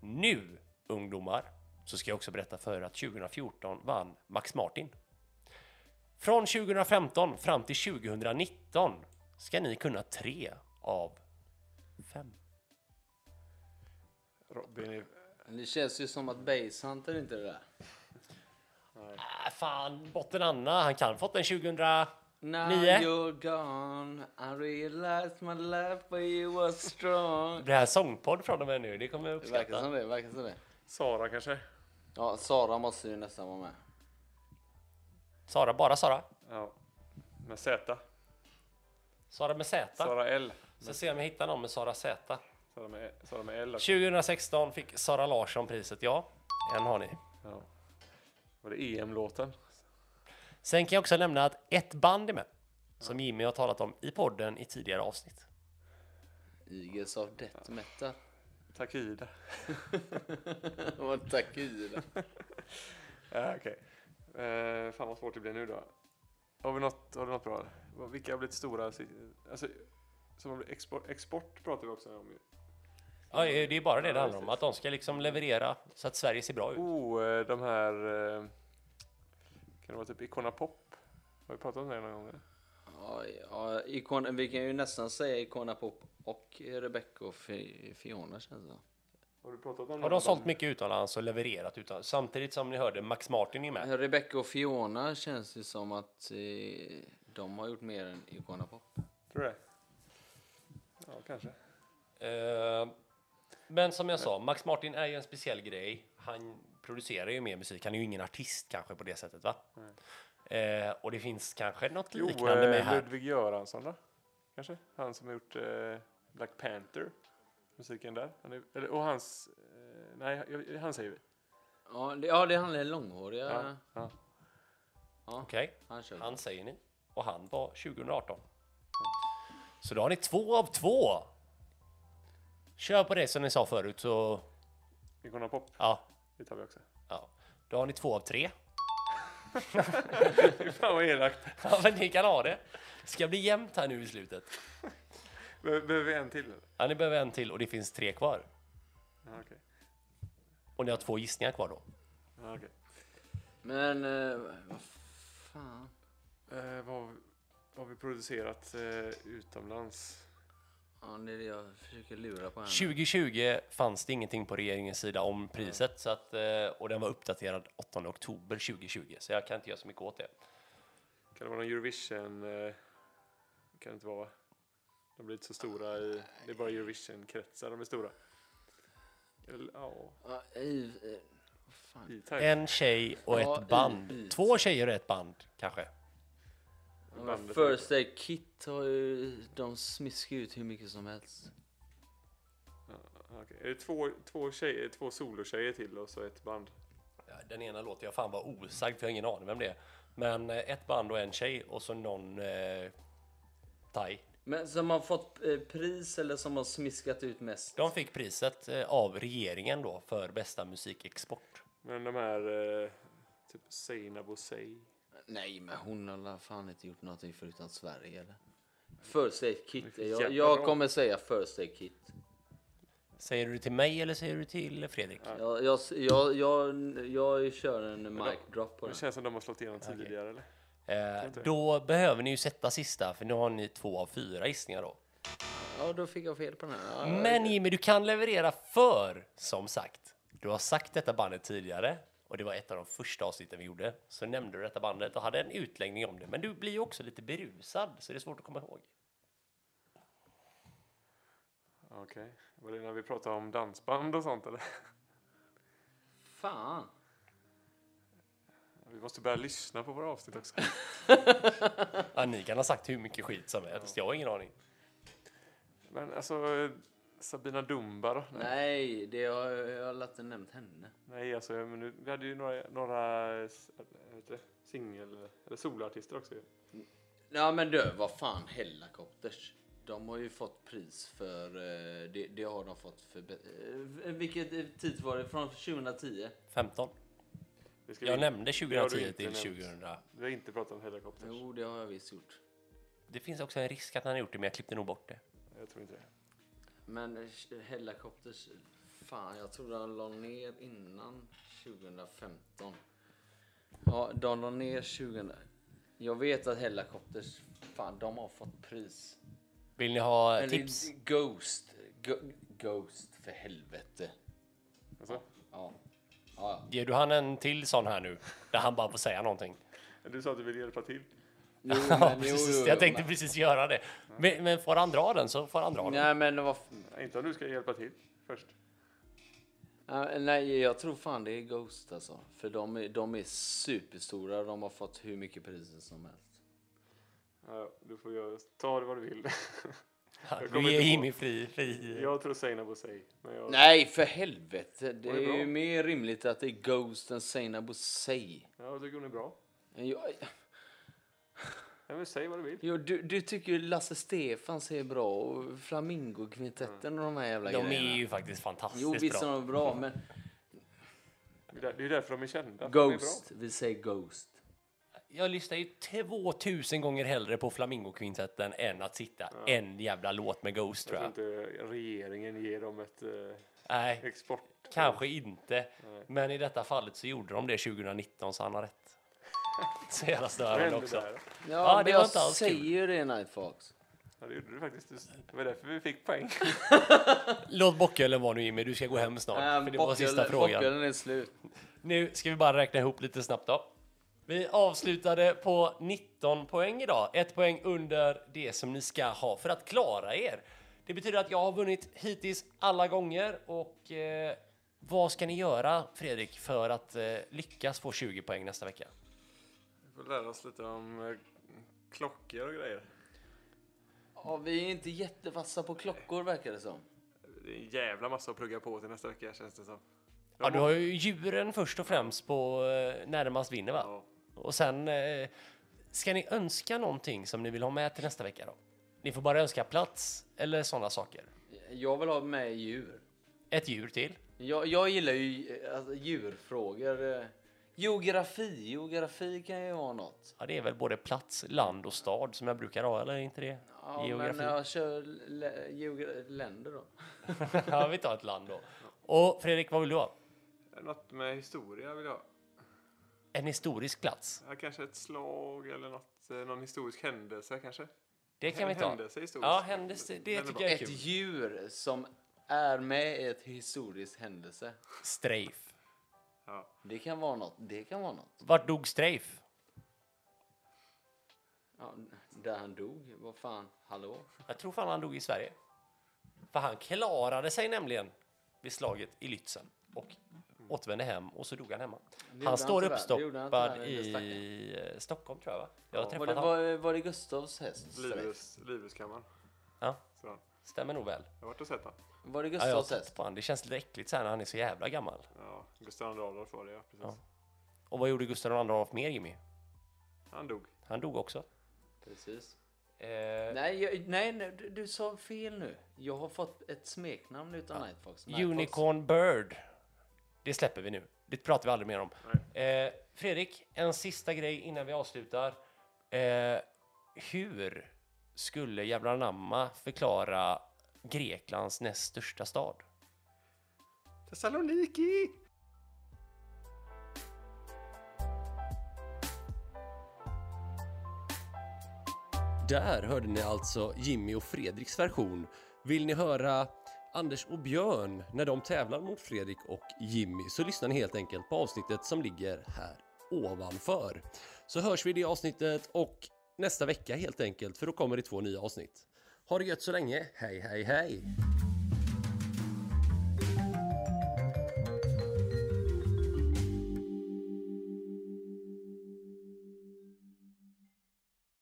Speaker 1: Nu, ungdomar, så ska jag också berätta för er att 2014 vann Max Martin. Från 2015 fram till 2019 ska ni kunna tre av fem.
Speaker 2: Robin är
Speaker 3: Men Det känns ju som att Basehunter inte är det där.
Speaker 1: Ah, fan, botten Anna, han kan fått en 2000...
Speaker 3: Now
Speaker 1: Nio.
Speaker 3: you're gone I realized my love for you was strong
Speaker 1: Det här är sångpodd från och med nu, det kommer jag
Speaker 3: Det verkar
Speaker 1: uppskatta.
Speaker 3: som det, det verkar som det.
Speaker 2: Sara kanske?
Speaker 3: Ja, Sara måste ju nästan vara med.
Speaker 1: Sara, bara Sara.
Speaker 2: Ja. Med Z.
Speaker 1: Sara med Z.
Speaker 2: Sara L.
Speaker 1: Så ser jag om jag hittar någon med Sara Z.
Speaker 2: Sara med, Sara med L. också.
Speaker 1: 2016 fick Sara Larsson priset, ja. En har ni.
Speaker 2: Ja. Var det E EM-låten?
Speaker 1: Sen kan jag också nämna att ett band är med. Som Jimmy har talat om i podden i tidigare avsnitt.
Speaker 3: Eagles of Death Metal. [laughs]
Speaker 2: Takida.
Speaker 3: Vad tack Ida.
Speaker 2: Ja, Okej. Eh, fan vad svårt det blir nu då. Har, vi något, har du något bra? Vad- Vilka har blivit stora? si- Alltså, som har blivit export, export pratar vi också om ju.
Speaker 1: Ja, det är ju bara det
Speaker 2: Ja,
Speaker 1: det handlar om,
Speaker 2: precis.
Speaker 1: att de ska liksom leverera så att Sverige ser bra ut.
Speaker 2: Oh, eh, de här... eh, Kan det vara typ Icona Pop? Har vi pratat om det någon gång? eller?
Speaker 3: Ja, ja, Icon, vi kan ju nästan säga Icona Pop och Rebecca och Fi- Fiona känns det
Speaker 2: Har du pratat om någon
Speaker 1: Har de
Speaker 2: av dem?
Speaker 1: sålt mycket utomlands och levererat utomlands? Samtidigt som ni hörde, Max Martin är med.
Speaker 3: som. Rebecca och Fiona känns ju som att eh, de har gjort mer än Icona Pop.
Speaker 2: Tror du det? Ja, kanske.
Speaker 1: Eh, Men som jag sa, Max Martin är ju en speciell grej. Han producerar ju mer musik. Han är ju ingen artist kanske på det sättet, va? Eh, och det finns kanske något
Speaker 2: Jo,
Speaker 1: liknande med
Speaker 2: eh,
Speaker 1: här.
Speaker 2: Ludvig Göransson då? Kanske? Han som har gjort eh, Black Panther. Musiken där. Han är, eller, och hans... Eh, nej, jag- han säger vi.
Speaker 3: Ja, det, ja, det handlar om långhåriga.
Speaker 2: Ja, ja.
Speaker 3: Ja,
Speaker 1: Okej,
Speaker 3: han kör.
Speaker 1: han säger ni. Och han var 2018. Så då har ni två av två. Kör på det som ni sa förut så,
Speaker 2: Icona Pop,
Speaker 1: ja.
Speaker 2: det tar vi också. [laughs]
Speaker 1: ja. Då har ni två av tre. [laughs]
Speaker 2: Fy Fan vad elakt.
Speaker 1: Ja, men ni kan ha det. Det ska bli jämnt här nu i slutet.
Speaker 2: Be- Behöver vi en till? Eller?
Speaker 1: Ja, ni behöver en till och det finns tre kvar.
Speaker 2: Ja, okej.
Speaker 1: Och ni har två gissningar kvar då.
Speaker 3: Mm.
Speaker 2: Ja, okej.
Speaker 3: Men eh, vad fan.
Speaker 2: Eh, vad, har vi- vad har vi producerat eh, utomlands?
Speaker 3: Ja, det är det jag försöker lura på här.
Speaker 1: 2020 fanns det ingenting på regeringens sida om priset så att, eh, och den var uppdaterad 8 oktober 2020 så jag kan inte göra så mycket åt det.
Speaker 2: Kan det vara någon Eurovision? Eh, kan det inte vara? va? De blir inte så stora i... Det är bara Eurovision-kretsar de är stora. Eller, ja,
Speaker 3: Ja, i, eh, vad fan.
Speaker 2: E-Type.
Speaker 1: En tjej och
Speaker 3: Ja,
Speaker 1: ett band.
Speaker 3: i- i.
Speaker 1: Två tjejer och ett band kanske.
Speaker 3: Ja,
Speaker 2: Bandet
Speaker 3: First Aid Kit har ju, de smiskar ut hur mycket som helst.
Speaker 2: Ja, okej. Är det två, två, tjejer, två solotjejer till och så ett band?
Speaker 1: Ja, Den ena låter jag fan vara osagd för jag har ingen aning vem det är. Men eh, ett band och en tjej och så någon eh, thai.
Speaker 3: Men som har fått eh, pris eller som har smiskat ut mest?
Speaker 1: De fick priset eh, av regeringen då för bästa musikexport.
Speaker 2: Men de här... Eh, typ Seinabo Bosei.
Speaker 3: Nej, men hon har la fan inte gjort någonting förutom Sverige eller? First Aid Kit.
Speaker 2: Vilken jävla
Speaker 3: Jag, jag
Speaker 2: roll.
Speaker 3: kommer säga First Aid Kit.
Speaker 1: Säger du det till mig eller säger du det till Fredrik?
Speaker 3: Jag, jag, jag, jag, jag kör en mic drop på
Speaker 2: Det
Speaker 3: den.
Speaker 2: känns som de har slått igenom tidigare eller?
Speaker 1: Eh, då behöver ni ju sätta sista för nu har ni två av fyra gissningar då.
Speaker 3: Ja, då fick jag fel på den här. Ja,
Speaker 1: Men Jimmy, du kan leverera för, som sagt. Du har sagt detta bandet tidigare och det var ett av de första avsnitten vi gjorde. Så nämnde du detta bandet och hade en utläggning om det. Men du blir ju också lite berusad så det är svårt att komma ihåg.
Speaker 2: Okej. Var det när vi pratade om dansband och sånt eller?
Speaker 3: Fan.
Speaker 2: Vi måste börja lyssna på våra avsnitt också.
Speaker 1: Ja, ni kan ha sagt hur mycket skit som helst. Jag har ingen aning.
Speaker 2: Men alltså, eh, Sabina Dumba då? Nej,
Speaker 3: Nej, det har, jag har inte nämnt henne.
Speaker 2: Nej alltså, men nu, vi hade ju några, några eh, s- vad heter det? singel eller soloartister också ju.
Speaker 3: Ja men du, vad fan, Hellacopters. De har ju fått pris för, eh, det, det har de fått för, eh, vilket eh, tid var det? Från 2010?
Speaker 1: 15.
Speaker 2: Det ska
Speaker 1: Jag
Speaker 2: vi,
Speaker 1: nämnde
Speaker 2: det har du
Speaker 1: 2010
Speaker 2: inte
Speaker 1: till
Speaker 2: nämnt.
Speaker 1: 2000.
Speaker 2: vi har inte pratat om Helicopters.
Speaker 3: Jo, det har jag visst gjort.
Speaker 1: Det finns också en risk att han har gjort det, men jag klippte nog bort det.
Speaker 2: Jag tror inte det.
Speaker 3: Men eh, Hellacopters, fan jag tror de la ner innan 2015. Ja, de la ner 2000. Jag vet att Hellacopters, fan de har fått pris.
Speaker 1: Vill ni ha
Speaker 3: Eller
Speaker 1: tips?
Speaker 3: Ghost, Go- Ghost för helvete.
Speaker 2: Alltså,
Speaker 3: Ja. Ja,
Speaker 1: [laughs] Ger du han en till sån här nu? Där han bara får säga någonting.
Speaker 2: Du sa att du ville hjälpa till.
Speaker 3: Jo,
Speaker 1: [laughs] Ja,
Speaker 3: men- jo,
Speaker 1: precis.
Speaker 3: jo,
Speaker 1: Jag tänkte
Speaker 3: men-
Speaker 1: precis göra det. Men, men får han dra den så får han dra den.
Speaker 3: Nej, men vad...
Speaker 2: Ja, Inte om du ska hjälpa till först.
Speaker 3: Ja, Nej, jag tror fan det är Ghost alltså. För de är, de är superstora. De har fått hur mycket priser som helst.
Speaker 2: Ja, ja, du får göra, ta det vad du vill. jag kommer
Speaker 1: Du ger
Speaker 2: inte på.
Speaker 1: Jimmy fri. fri.
Speaker 2: Jag tror Seinabo på sig. Men jag,
Speaker 3: Nej, för helvete. Det
Speaker 2: Var det
Speaker 3: är
Speaker 2: bra?
Speaker 3: ju mer rimligt att det är Ghost än Seinabo Sey.
Speaker 2: Ja, jag tycker hon är bra.
Speaker 3: Jag,
Speaker 2: Nej, men säg vad du vill.
Speaker 3: jo, du, du tycker ju Lasse Stefans är bra och Flamingokvintetten och de här jävla
Speaker 1: De
Speaker 3: grejerna.
Speaker 1: är ju faktiskt
Speaker 3: Jo,
Speaker 1: fantastiskt
Speaker 3: visst är
Speaker 1: bra.
Speaker 3: de bra, men
Speaker 2: Det är där- det är ju därför de är kända. för de är bra.
Speaker 3: Ghost. Vi säger Ghost.
Speaker 1: Jag lyssnar ju 2000 gånger hellre på Flamingokvintetten än att sitta en jävla låt med Ghost tror jag.
Speaker 2: Jag tror inte regeringen ger dem ett eh,
Speaker 1: Nej,
Speaker 2: export...
Speaker 1: kanske inte. Men i detta fallet så gjorde de det 2019 så han har rätt. Så jävla
Speaker 2: Vad
Speaker 1: störande
Speaker 2: hände
Speaker 1: också.
Speaker 2: där?
Speaker 3: Ja,
Speaker 1: Ja, det
Speaker 3: men
Speaker 1: var
Speaker 3: jag
Speaker 1: inte alls kul.
Speaker 3: säger ju det, Night Fox.
Speaker 2: Ja, det gjorde du faktiskt. Det var därför vi fick poäng.
Speaker 1: Låt bockölen vara nu Jimmy, du ska gå hem snart.
Speaker 3: Nej,
Speaker 1: för det var
Speaker 3: bocken-
Speaker 1: sista frågan.
Speaker 3: bocken Äh, är slut.
Speaker 1: Nu ska vi bara räkna ihop lite snabbt då. Vi avslutade på 19 poäng idag. Ett poäng under det som ni ska ha för att klara er. Det betyder att jag har vunnit hittills alla gånger och eh, vad ska ni göra Fredrik för att eh, lyckas få 20 poäng nästa vecka?
Speaker 2: Vi får lära oss lite om eh, klockor och grejer.
Speaker 3: Ja, vi är inte jättevassa på klockor, verkar det som.
Speaker 2: Det är en jävla massa att plugga på till nästa vecka känns det som.
Speaker 1: Ja, du har ju djuren först och främst på eh, närmast vinner va?
Speaker 2: Ja.
Speaker 1: Och sen eh, ska ni önska någonting som ni vill ha med till nästa vecka då? Ni får bara önska plats eller sådana saker.
Speaker 3: Jag vill ha med djur.
Speaker 1: Ett djur till.
Speaker 3: Jag, jag gillar ju eh, alltså, djurfrågor. eh. Geografi, geografi kan ju vara något.
Speaker 1: Ja, det är väl både plats, land och stad som jag brukar ha, eller är inte det?
Speaker 3: Ja,
Speaker 1: Geografi.
Speaker 3: men jag kör le, geogra- länder då.
Speaker 1: [laughs] ja, vi tar ett land då. Och Fredrik, vad vill du ha?
Speaker 2: eh, Något med historia vill jag ha.
Speaker 1: En historisk plats.
Speaker 2: Ja, kanske ett slag eller något, eh, någon historisk händelse kanske.
Speaker 1: Det kan
Speaker 2: En
Speaker 1: vi ta.
Speaker 2: Händelse historisk.
Speaker 1: Ja, händelse.
Speaker 2: Den
Speaker 1: [laughs] Det
Speaker 2: är
Speaker 1: tycker
Speaker 2: bra.
Speaker 1: jag är
Speaker 3: Ett
Speaker 1: kul.
Speaker 3: djur som är med i ett historiskt händelse.
Speaker 1: Streif.
Speaker 2: Ja.
Speaker 3: Det kan vara något. Det kan vara något.
Speaker 1: Vart dog Streif?
Speaker 3: Ja, där han dog. Vad fan, hallå?
Speaker 1: Jag tror fan han dog i Sverige. För han klarade sig nämligen vid slaget i Lützen och återvände hem och så dog han hemma.
Speaker 3: gjorde
Speaker 1: Han
Speaker 3: han
Speaker 1: står
Speaker 3: tyvärr. Det gjorde han tyvärr,
Speaker 1: uppstoppad
Speaker 3: den
Speaker 1: i
Speaker 3: stackaren.
Speaker 1: eh, Stockholm tror jag va? Jag har
Speaker 3: Var det,
Speaker 1: träffat honom.
Speaker 3: var, var det Gustavs häst?
Speaker 2: Livhus, Livhuskammaren.
Speaker 1: Ja,
Speaker 2: Så, jag
Speaker 1: stämmer nog väl.
Speaker 2: har varit och sett den.
Speaker 3: Var det
Speaker 1: Ja, jag har
Speaker 3: Gustavs häst?
Speaker 1: tittat på han. Det känns lite äckligt så här när han är så jävla gammal.
Speaker 2: Ja, Gustav II Adolf var det ja, precis.
Speaker 1: Ja. Och vad gjorde Gustav II Adolf mer Jimmy?
Speaker 2: Han dog.
Speaker 1: Han dog också.
Speaker 3: Precis.
Speaker 1: Eh,
Speaker 3: Nej, jag, nej, nej du, du sa fel nu. Jag har fått ett smeknamn utan Nightfox. Nightfox.
Speaker 1: Unicorn Bird. Det släpper vi nu. Det pratar vi aldrig mer om. Eh, Fredrik, en sista grej innan vi avslutar. Eh, hur skulle jävla anamma förklara Greklands näst största stad?
Speaker 2: Thessaloniki!
Speaker 1: Där hörde ni alltså Jimmy och Fredriks version. Vill ni höra Anders och Björn när de tävlar mot Fredrik och Jimmy så lyssnar ni helt enkelt på avsnittet som ligger här ovanför. Så hörs vi i det avsnittet och nästa vecka helt enkelt för då kommer det två nya avsnitt. Ha det gött så länge. Hej hej hej!